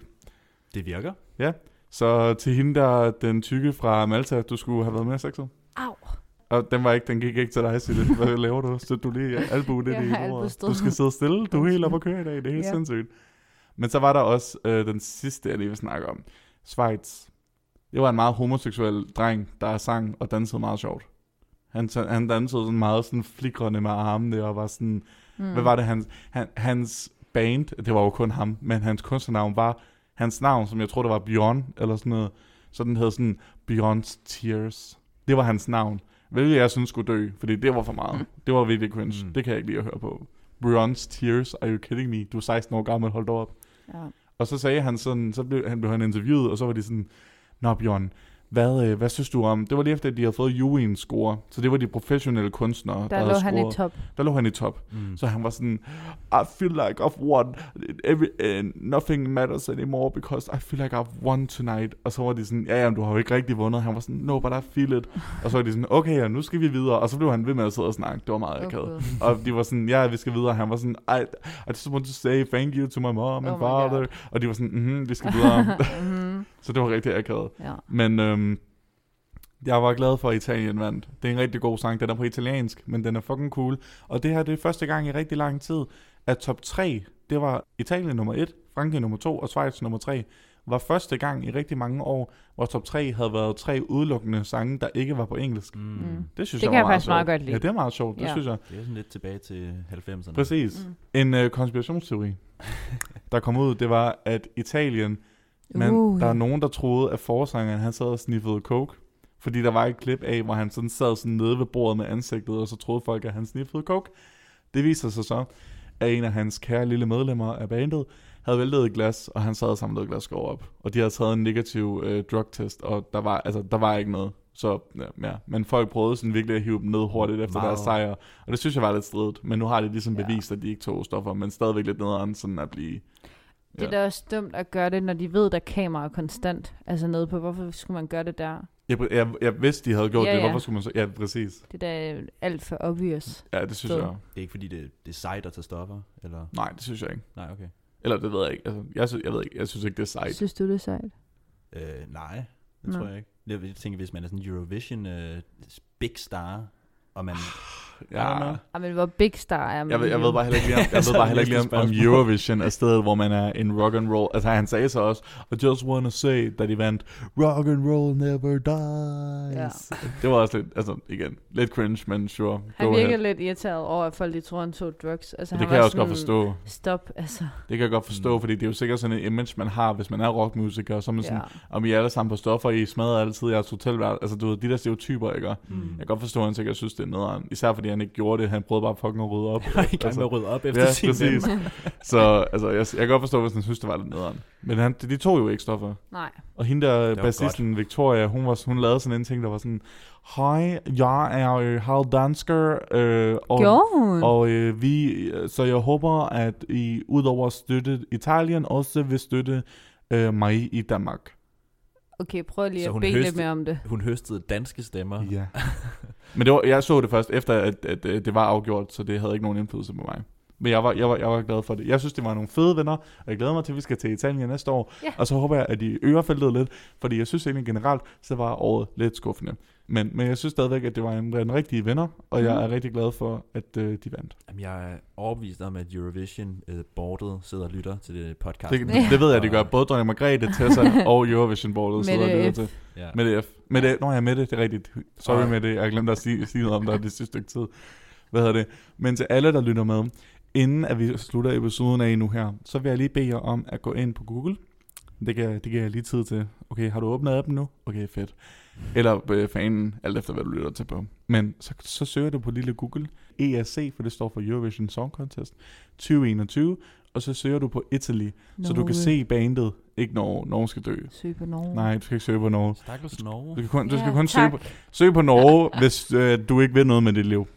Det virker.
Så til hende der, den tykke fra Malta, du skulle have været med i sexet.
Au.
Og den, var ikke, den gik ikke til dig, Sille. Hvad laver du? Så du lige albuen ind
Jeg
i
har
bordet.
albestød.
Du skal sidde stille. Du er helt oppe at køre i dag. Det er helt
Ja.
ja. sindssygt. Men så var der også øh, den sidste, jeg lige vil snakke om. Schweiz. Det var en meget homoseksuel dreng, der sang og dansede meget sjovt. Han, ta- han dansede sådan meget sådan flikrende med armene og var sådan... Mm. Hvad var det, hans, han, hans band, det var jo kun ham, men hans kunstnernavn var, hans navn, som jeg tror, det var Bjørn, eller sådan noget, så den hed sådan Bjørns Tears. Det var hans navn, hvilket jeg synes skulle dø, fordi det var for
Mm.
meget. Det var virkelig cringe,
Mm.
mm. det kan jeg ikke lide at høre på. Bjørns Tears, are you kidding me? Du er 16 år gammel, hold da op.
Ja.
Og så sagde han sådan, så blev han, blev han interviewet, og så var de sådan, Nå Bjørn, hvad, øh, hvad synes du om? Det var lige efter, at de havde fået Juwins score, så det var de professionelle kunstnere, der,
Der
havde
lå han i
scoret.
top.
Der lå han i top.
Mm.
Så han var sådan, I feel like I've won. Every, uh, nothing matters anymore, because I feel like I've won tonight. Og så var de sådan, ja, jamen, du har jo ikke rigtig vundet. Han var sådan, no, but I feel it. Og så var de sådan, okay, ja, nu skal vi videre. Og så blev han ved med at sidde og snakke. Det var meget
Åh,
akavet.
Gud.
Og de var sådan, ja, vi skal videre. Han var sådan, I, I just want to say thank you to my mom and
Oh my
father.
God.
Og de var sådan, mhm, vi skal videre.
Mhm.
så det var rigtig akavet.
Ja.
Men øhm, jeg var glad for, at Italien vandt. Det er en rigtig god sang. Den er på italiensk, men den er fucking cool. Og det her, det er første gang i rigtig lang tid, at top 3, det var Italien nummer 1, Frankrig nummer 2 og Schweiz nummer 3, var første gang i rigtig mange år, hvor top 3 havde været tre udelukkende sange, der ikke var på engelsk.
Mm.
Mm.
Det synes
Det kan
jeg var
jeg
meget
faktisk
sjovt.
meget godt lide.
Ja, det er meget sjovt, det
Ja.
synes jeg.
Det er sådan lidt tilbage til 90'erne.
Præcis.
Mm.
En øh, konspirationsteori, der kom ud, det var, at Italien, men
Uh,
uh, der er
ja.
nogen, der troede, at forsangeren han sad og sniffede coke. Fordi der var et klip af, hvor han sådan sad sådan nede ved bordet med ansigtet, og så troede folk, at han sniffede coke. Det viser sig så, at en af hans kære lille medlemmer af bandet havde væltet et glas, og han sad og samlede glasskår op. Og de havde taget en negativ øh, drugtest, og der var, altså, der var ikke noget. Så ja, ja, men folk prøvede sådan virkelig at hive dem ned hurtigt efter
Meget.
deres sejr. Og det synes jeg var lidt stridigt. Men nu har de ligesom
Ja.
bevist, at de ikke tog stoffer, men stadigvæk lidt nederen sådan at blive...
Det er da også dumt at gøre det, når de ved, der er kameraer konstant. Altså nede på, hvorfor skulle man gøre det der?
Jeg, jeg, jeg vidste, de havde gjort
Ja,
ja, det.
ja.
Hvorfor skulle man så... Ja, præcis.
Det er da alt for obvious.
Ja, det synes
Fed.
jeg.
Det er ikke fordi, det, det er sejt at tage stoffer, eller?
Nej, det synes jeg ikke.
Nej, okay.
Eller det ved jeg ikke. Altså, jeg, synes, jeg ved ikke. Jeg synes ikke, det er
Ej.
sejt.
Synes du, det er sejt?
Øh, nej, det
Nå.
tror jeg ikke. Jeg vil tænke, hvis man er sådan en Eurovision øh, big star, og man... I don't
Ja.
know.
Ej, men hvor big star er man
Jeg ved, jeg ved
jo.
bare heller ikke lige, om, jeg ved
Så
bare heller ikke lige
næste
om, om
spørgsmål.
Eurovision er stedet, hvor man er en rock and roll. Altså han sagde så også, I just wanna say, da de vandt, rock and roll never dies. Ja. Det var også lidt, altså igen, lidt cringe, men sure,
Han
go
virkede
ahead.
lidt irriteret over, at folk de tror, han tog drugs. Altså,
Det
han
kan jeg
var
også godt
sådan,
forstå.
Stop, altså.
Det kan jeg godt forstå,
Mm.
fordi det er jo sikkert sådan en image, man har, hvis man er rockmusiker, så er man sådan,
Ja.
om I er alle sammen på stoffer, I smadrer altid jeres hotelvært. Altså, du ved, de der stereotyper, ikke? Jeg
Mm.
kan godt forstå, at han sikkert synes, det er nederen. Især fordi han ikke gjorde det. Han prøvede bare fucking at rydde op.
Jeg er i gang med at rydde op efter
ja,
sin
præcis.
ven.
Så altså, jeg, jeg kan godt forstå, hvis han synes, det var lidt nederen. Men han, de tog jo ikke stoffer.
Nej.
Og hende der
var
bassisten Victoria, hun, var, hun lavede sådan en ting, der var sådan, Hej, jeg er øh, halv dansker, øh, og,
Gjorde hun?
og øh, vi, øh, så jeg håber, at I udover at støtte Italien, også vil støtte øh, mig i Danmark.
Okay, prøv lige
Så
at
hun
bede lidt
høste-
mere om det.
Hun høstede danske stemmer.
Ja. Men det var, jeg så det først efter, at, at, øh, det var afgjort, så det havde ikke nogen indflydelse på mig. Men jeg var, jeg, var, jeg var glad for det. Jeg synes, det var nogle fede venner, og jeg glæder mig til, at vi skal til Italien næste år.
Ja.
Og så håber jeg, at de øger feltet lidt, fordi jeg synes egentlig generelt, så var året lidt skuffende. Men, men jeg synes stadigvæk, at det var en, en rigtige venner, og
Mm.
jeg er rigtig glad for, at øh, de vandt.
Jamen, jeg er overbevist om, at Eurovision øh, bordet sidder og lytter til det podcast.
Det, det ved jeg, de gør. Både dronning Margrethe, Tessa og Eurovision Bordet sidder og
Mette
lytter
F.
til.
Ja. Men,
Mette F. Mette, Nå ja, Mette, det er rigtigt. Sorry
Sorry.
med det, jeg glemte at sige, sige noget om dig det sidste stykke tid. Hvad hedder det? Men til alle, der lytter med, inden at vi slutter episoden af nu her, så vil jeg lige bede jer om at gå ind på Google. Det kan, det giver jeg lige tid til. Okay, har du åbnet appen nu? Okay, fedt. Eller øh, fanen, alt efter hvad du lytter til på. Men så, så E søger du på lille Google ESC, for det står for Eurovision Song Contest 2021, og så søger du på Italy,
Norge.
så du kan se bandet. Ikke Norge. Norge skal dø.
Søg på Norge.
Nej, du skal ikke søge på Norge.
Stakkels Norge.
Du, kan kun, du
Ja,
skal kun søge
tak.
på, søge på Norge, hvis øh, du ikke vil noget med dit liv.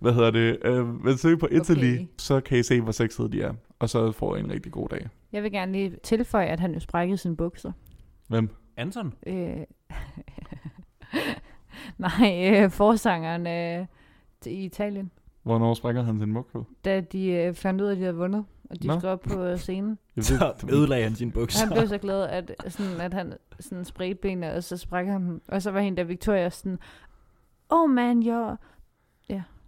Hvad hedder det? Øh, men søg på Italy,
Okay.
okay. så kan I se, hvor sexede de er. Og så får I en rigtig god dag.
Jeg vil gerne lige tilføje, at han jo sprækkede sine bukser.
Hvem?
Anton?
Øh. Nej, øh, forsangeren øh, til- i Italien,
Hvornår sprækker han sin mugtød?
da de øh, fandt ud af, at de havde vundet, og de
Nå.
skulle op på øh, scenen.
Så ødelagde han sine bukser.
Han blev så glad, at, sådan, at han sådan spredte benene, og så spræk han dem. Og så var hende der Victoria sådan, oh man, you're...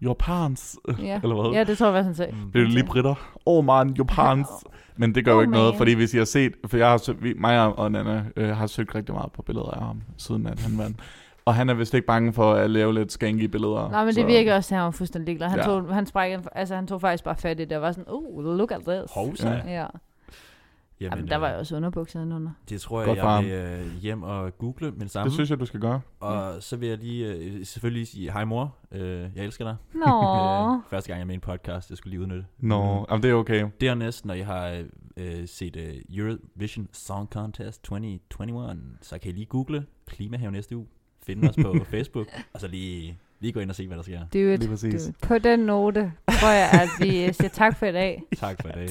Your pants.
Ja,
Eller hvad?
ja det tror jeg, var, han sagde.
Mm.
Det er jo lige britter. Oh man, your pants. Men det gør jo
Oh
ikke noget,
man.
fordi hvis I har set... For jeg har, sø- vi, mig og Nana øh, har søgt rigtig meget på billeder af ham, siden at han vandt. Og han er vist ikke bange for at lave lidt skanky billeder.
Nej, men det virker også, at han var fuldstændig ligeglad. Han,
Ja.
ja. tog, han, sprækkede, altså, han tog faktisk bare fat i det, og var sådan, oh, look at this.
Hovsa.
Ja.
Ja.
Ja, Jamen, der
øh,
var jo også underbukser under.
Det tror jeg,
Godt for
jeg vil øh, hjem og google med det samme.
Det synes jeg, du skal gøre.
Og så vil jeg lige øh, selvfølgelig sige, hej mor, øh, jeg elsker dig.
Nå,
Øh, første gang jeg er med i en podcast, jeg skulle lige udnytte.
Nå,
Mm.
jamen, det er okay.
Dernæst, når jeg har øh, set øh, Eurovision Song Contest 2021, så kan I lige google Klimahave næste uge. Find os på Facebook, og så lige, lige gå ind og se, hvad der sker.
do it,
Lige præcis.
do it. På den note, tror jeg, at vi øh, siger tak for i dag.
Tak for i dag.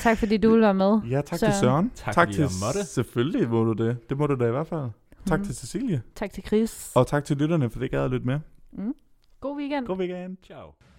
Tak fordi du ville være med.
Ja, tak
Søren.
til Søren.
Tak,
tak
fordi
til
jeg måtte.
Selvfølgelig må du det. Det må du da i hvert fald. Tak
Mm.
til Cecilie.
Tak til Chris.
Og tak til lytterne, for det gad at lytte med.
God weekend.
God weekend.
Ciao.